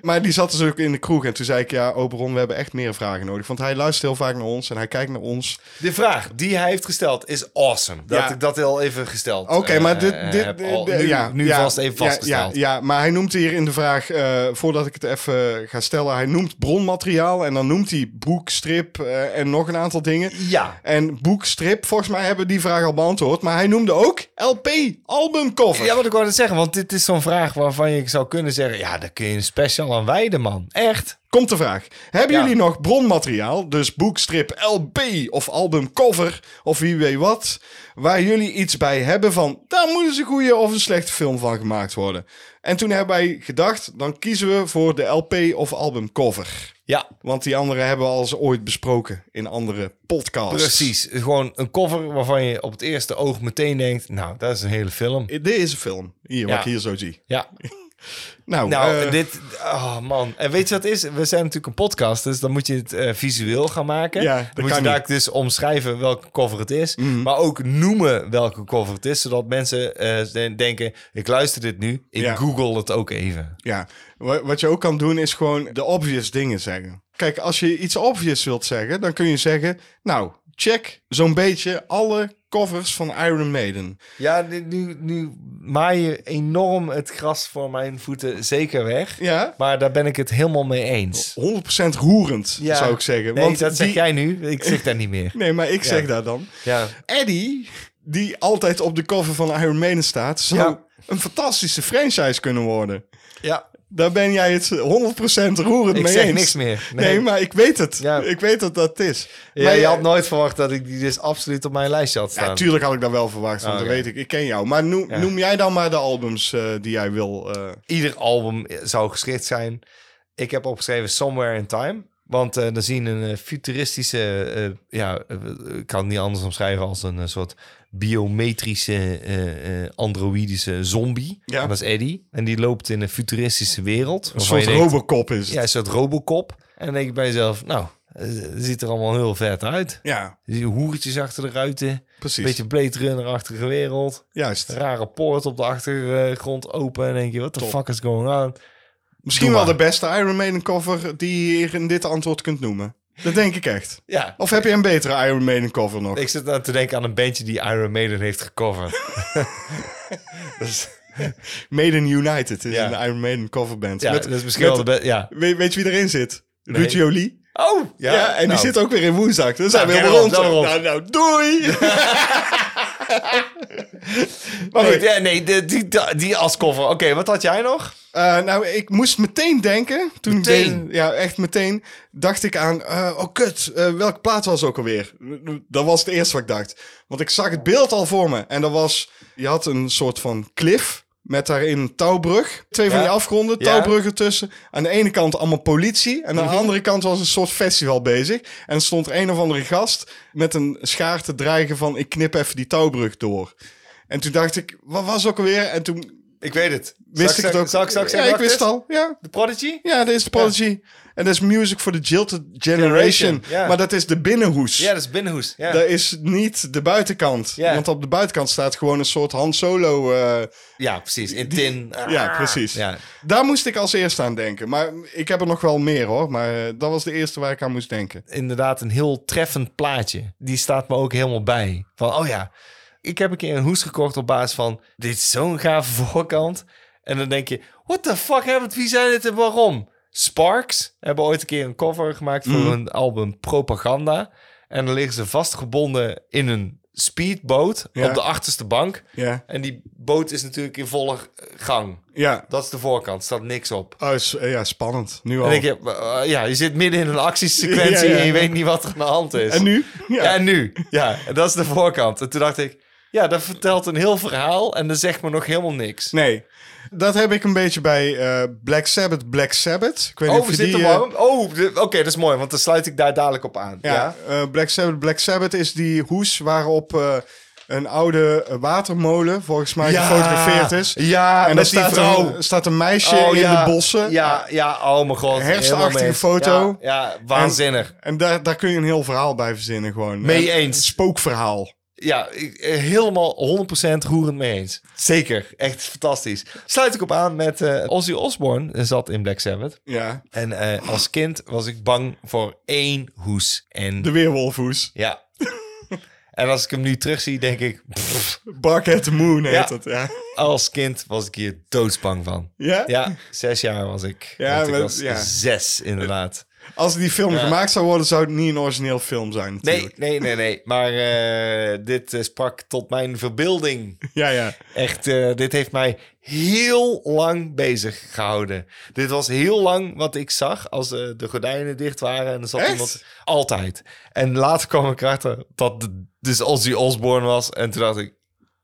Maar die zat dus ook in de kroeg. En toen zei ik, ja, Oberon, we hebben echt meer vragen nodig. Want hij luistert heel vaak naar ons en hij kijkt naar ons.
De vraag die hij heeft gesteld is awesome. Dat
Ja.
ik dat al even gesteld
Oké, maar
eh,
dit... dit,
heb
dit-
al-
dit-
nu,
ja,
nu
ja,
vast even
ja,
vastgesteld.
Ja, ja, maar hij noemt hier in de vraag, eh, voordat ik het even ga stellen... Hij noemt bronmateriaal en dan noemt hij boek, strip eh, en nog een aantal dingen.
Ja.
En boek, strip, volgens mij hebben we die vraag al beantwoord. Maar hij noemde ook LP, albumcover.
Ja, wat ik wou net zeggen, want dit is zo'n vraag waarvan je zou kunnen zeggen... Ja, daar kun je een special aan wijden, man. Echt.
Komt de vraag. Hebben
Ja.
jullie nog bronmateriaal, dus boekstrip, LP of albumcover of wie weet wat, waar jullie iets bij hebben van, daar moet eens een goede of een slechte film van gemaakt worden? En toen hebben wij gedacht, dan kiezen we voor de LP of albumcover.
Ja,
Want die andere hebben we al eens ooit besproken in andere
Dus-
podcasts.
precies. Gewoon een cover waarvan je op het eerste oog meteen denkt... Nou, dat is een hele film.
Dit is een film, hier, wat
Ja.
ik hier zo zie.
Ja,
Nou,
Nou,
eh,
dit... Oh, man. En weet je wat het is? We zijn natuurlijk een podcast, dus dan moet je het eh, visueel gaan maken.
Ja, dat
dan moet
kan Mhm.
je daar dus omschrijven welke cover het is. Maar ook noemen welke cover het is, zodat mensen eh, de- denken... Ik luister dit nu, ik
Ja.
google het ook even.
Ja, wa- wat je ook kan doen is gewoon de obvious dingen zeggen. Kijk, als je iets obvious wilt zeggen, dan kun je zeggen... Nou, check zo'n beetje alle covers van Iron Maiden.
Ja, nu, nu, nu maaien enorm het gras voor mijn voeten zeker weg.
Ja.
Maar daar ben ik het helemaal mee eens.
100% roerend,
Ja.
zou ik zeggen.
Nee,
Want
dat zeg
die-
jij nu. Ik zeg dat niet meer.
Nee, maar ik zeg
Ja.
daar dan.
Ja.
Eddie, die altijd op de cover van Iron Maiden staat, zou
Ja.
een fantastische franchise kunnen worden.
ja.
Daar ben jij het 100% roerend
Ik
mee
zeg
eens.
niks meer.
Nee,
Nee.
maar ik weet het.
Ja.
Ik weet dat dat het is.
Ja,
maar
je had nooit verwacht dat ik die dus absoluut op mijn lijstje had staan.
Ja, tuurlijk had ik dat wel verwacht, want
Ah,
dat
oké.
weet ik. Ik ken jou. Maar noem,
Ja.
noem jij dan maar de albums eh, die jij wil. eh,
Ieder album zou geschikt zijn. Ik heb opgeschreven Somewhere in Time. Want eh dan zien een eh, futuristische, eh, ja, eh, ik kan het niet anders omschrijven als een eh, soort biometrische, eh, eh, androïdische zombie.
Ja.
En Dat is Eddie. En die loopt in een futuristische wereld.
een soort Robocop is het.
Ja, een soort robocop. En dan denk ik bij jezelf, nou, het ziet er allemaal heel vet uit.
Ja,
Je ziet hoertjes achter de ruiten.
precies.
Beetje Blade Runner-achtige wereld
Juist.
rare poort op de achtergrond open. En denk je, wat the fuck is going on?
Misschien
Doe
wel de
maar.
beste Iron Maiden cover die je hier in dit antwoord kunt noemen. Dat denk ik echt.
Ja.
Of heb je een betere Iron Maiden cover nog?
Ik zit nou te denken aan een bandje die Iron Maiden heeft gecoverd.
Maiden United is
Ja.
een Iron Maiden coverband.
Ja,
Met-
dat is misschien
met-
wel de best. Ja.
weet, weet je wie erin zit? Ruud Jolie.
Oh,
Ja, en die zit ook weer in woensdag. Dan zijn we
Nou,
helemaal rond.
kijk erop,
Nou, nou, doei! maar
Nee,
goed,
Oh, ja, nee de- die, da- die als cover. Oké, wat had jij nog?
eh, nou, ik moest meteen denken. Toen ik
Meteen?
deze- ja, echt meteen. Dacht ik aan, eh, oh kut, eh, welke plaat was ook alweer? Dat was het eerste wat ik dacht. Want ik zag het beeld al voor me. En dat was, je had een soort van cliff. Met daarin een touwbrug. Twee van
Ja.
die afgronden,
Ja. Mhm.
touwbruggen tussen. Aan de ene kant allemaal politie. En aan de andere kant was een soort festival bezig. En er stond een of andere gast met een schaar te dreigen van... ik knip even die touwbrug door. En toen dacht ik, wat was ook alweer? En toen
Ik weet het.
wist ik, het ook.
Zal ik straks
ja,
zeggen
ik
wat
wist
het
het
is?
al. Ja,
De Prodigy?
ja dat is de Prodigy. En dat is Music for the Jilted Generation.
Generation, ja.
Maar dat is de binnenhoes.
Ja, dat is Binnenhoes. Ja.
Dat is niet de buitenkant.
Ja.
Want op de buitenkant staat gewoon een soort Han Solo... eh,
ja, precies. In Tin. Ah.
ja, precies.
Ja.
Daar moest ik als eerste aan denken. Maar ik heb er nog wel meer hoor. Maar eh, dat was de eerste waar ik aan moest denken.
inderdaad een heel treffend plaatje. Die staat me ook helemaal bij. Van, oh ja, ik heb een keer een hoes gekocht op basis van... dit is zo'n gave voorkant. En dan denk je, what the fuck, hebben wie zijn dit en waarom? Sparks hebben ooit een keer een cover gemaakt
Mhm.
voor hun album Propaganda. En dan liggen ze vastgebonden in een speedboot
Ja.
op de achterste bank.
Ja.
En die boot is natuurlijk in volle gang.
Ja.
Dat is de voorkant, staat niks op.
Oh, is- eh, ja, spannend. Nu al.
En dan denk je, eh, ja, je zit midden in een actiesequentie
Ja, ja.
en je weet niet wat er aan de hand is.
En nu?
Ja. en nu. Ja, en dat is de voorkant. En toen dacht ik, ja, dat vertelt een heel verhaal en dat zegt me nog helemaal niks.
Nee. Dat heb ik een beetje bij eh, Black Sabbath, Black Sabbath. Ik weet niet
Oh,
of
we
je
zitten
die, eh,
warm. Oh, de- oké, dat is mooi, want dan sluit ik daar dadelijk op aan. Ja.
Ja, eh, Black Sabbath. Black Sabbath is die hoes waarop eh, een oude eh, watermolen volgens mij
Ja.
gefotografeerd is.
Ja,
en
met
dan
die
staat,
vrouw.
Een, staat een meisje in
Oh, ja.
de bossen.
Ja, ja, oh mijn god.
Herfstachtige
helemaal mee.
foto.
Ja, ja, waanzinnig.
En, en daar, daar kun je een heel verhaal bij verzinnen gewoon.
Mee
En-
eens.
Een spookverhaal.
Ja, ik- eh, helemaal 100% roerend mee eens. Zeker, echt fantastisch. Sluit ik op aan met eh, Ozzy Osbourne, eh, zat in Black Sabbath.
Ja,
En eh, als kind was ik bang voor één hoes. En
de weerwolfhoes.
ja. en als ik hem nu terugzie, denk ik... pff,
Bark at the Moon heet
Ja.
dat, ja.
als kind was ik hier doodsbang van.
Ja?
Ja, zes jaar was ik.
Ja,
Ja, ik
maar-
was
ja.
zes inderdaad.
Als die film
Ja.
gemaakt zou worden, zou het niet een origineel film zijn
Nee,
natuurlijk.
nee, nee, nee. Maar eh, dit eh, sprak tot mijn verbeelding.
Ja, ja.
Echt, eh, dit heeft mij heel lang bezig gehouden. Dit was heel lang wat ik zag als eh, de gordijnen dicht waren. En er zat
Echt?
iemand... Altijd. En later kwam ik erachter dat het dus Ozzy Osbourne was. En toen dacht ik,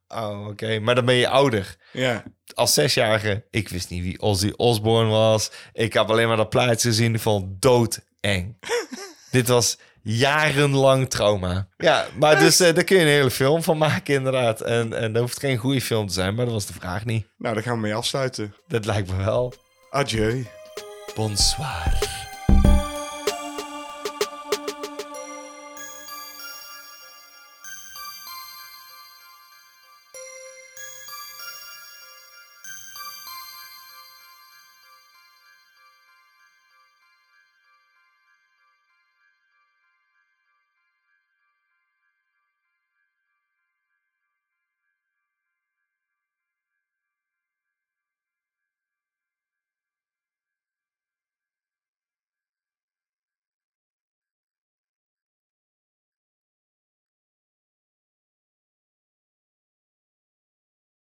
oh, oké. Maar dan ben je ouder.
Ja,
Als zesjarige, ik wist niet wie Ozzy Osbourne was. Ik heb alleen maar dat plaatje gezien van doodeng. Dit was jarenlang trauma. Ja, maar dus eh, daar kun je een hele film van maken inderdaad. En, en dat hoeft geen goede film te zijn, maar dat was de vraag niet.
nou daar gaan we mee afsluiten.
Dat lijkt me wel.
Adieu.
Bonsoir.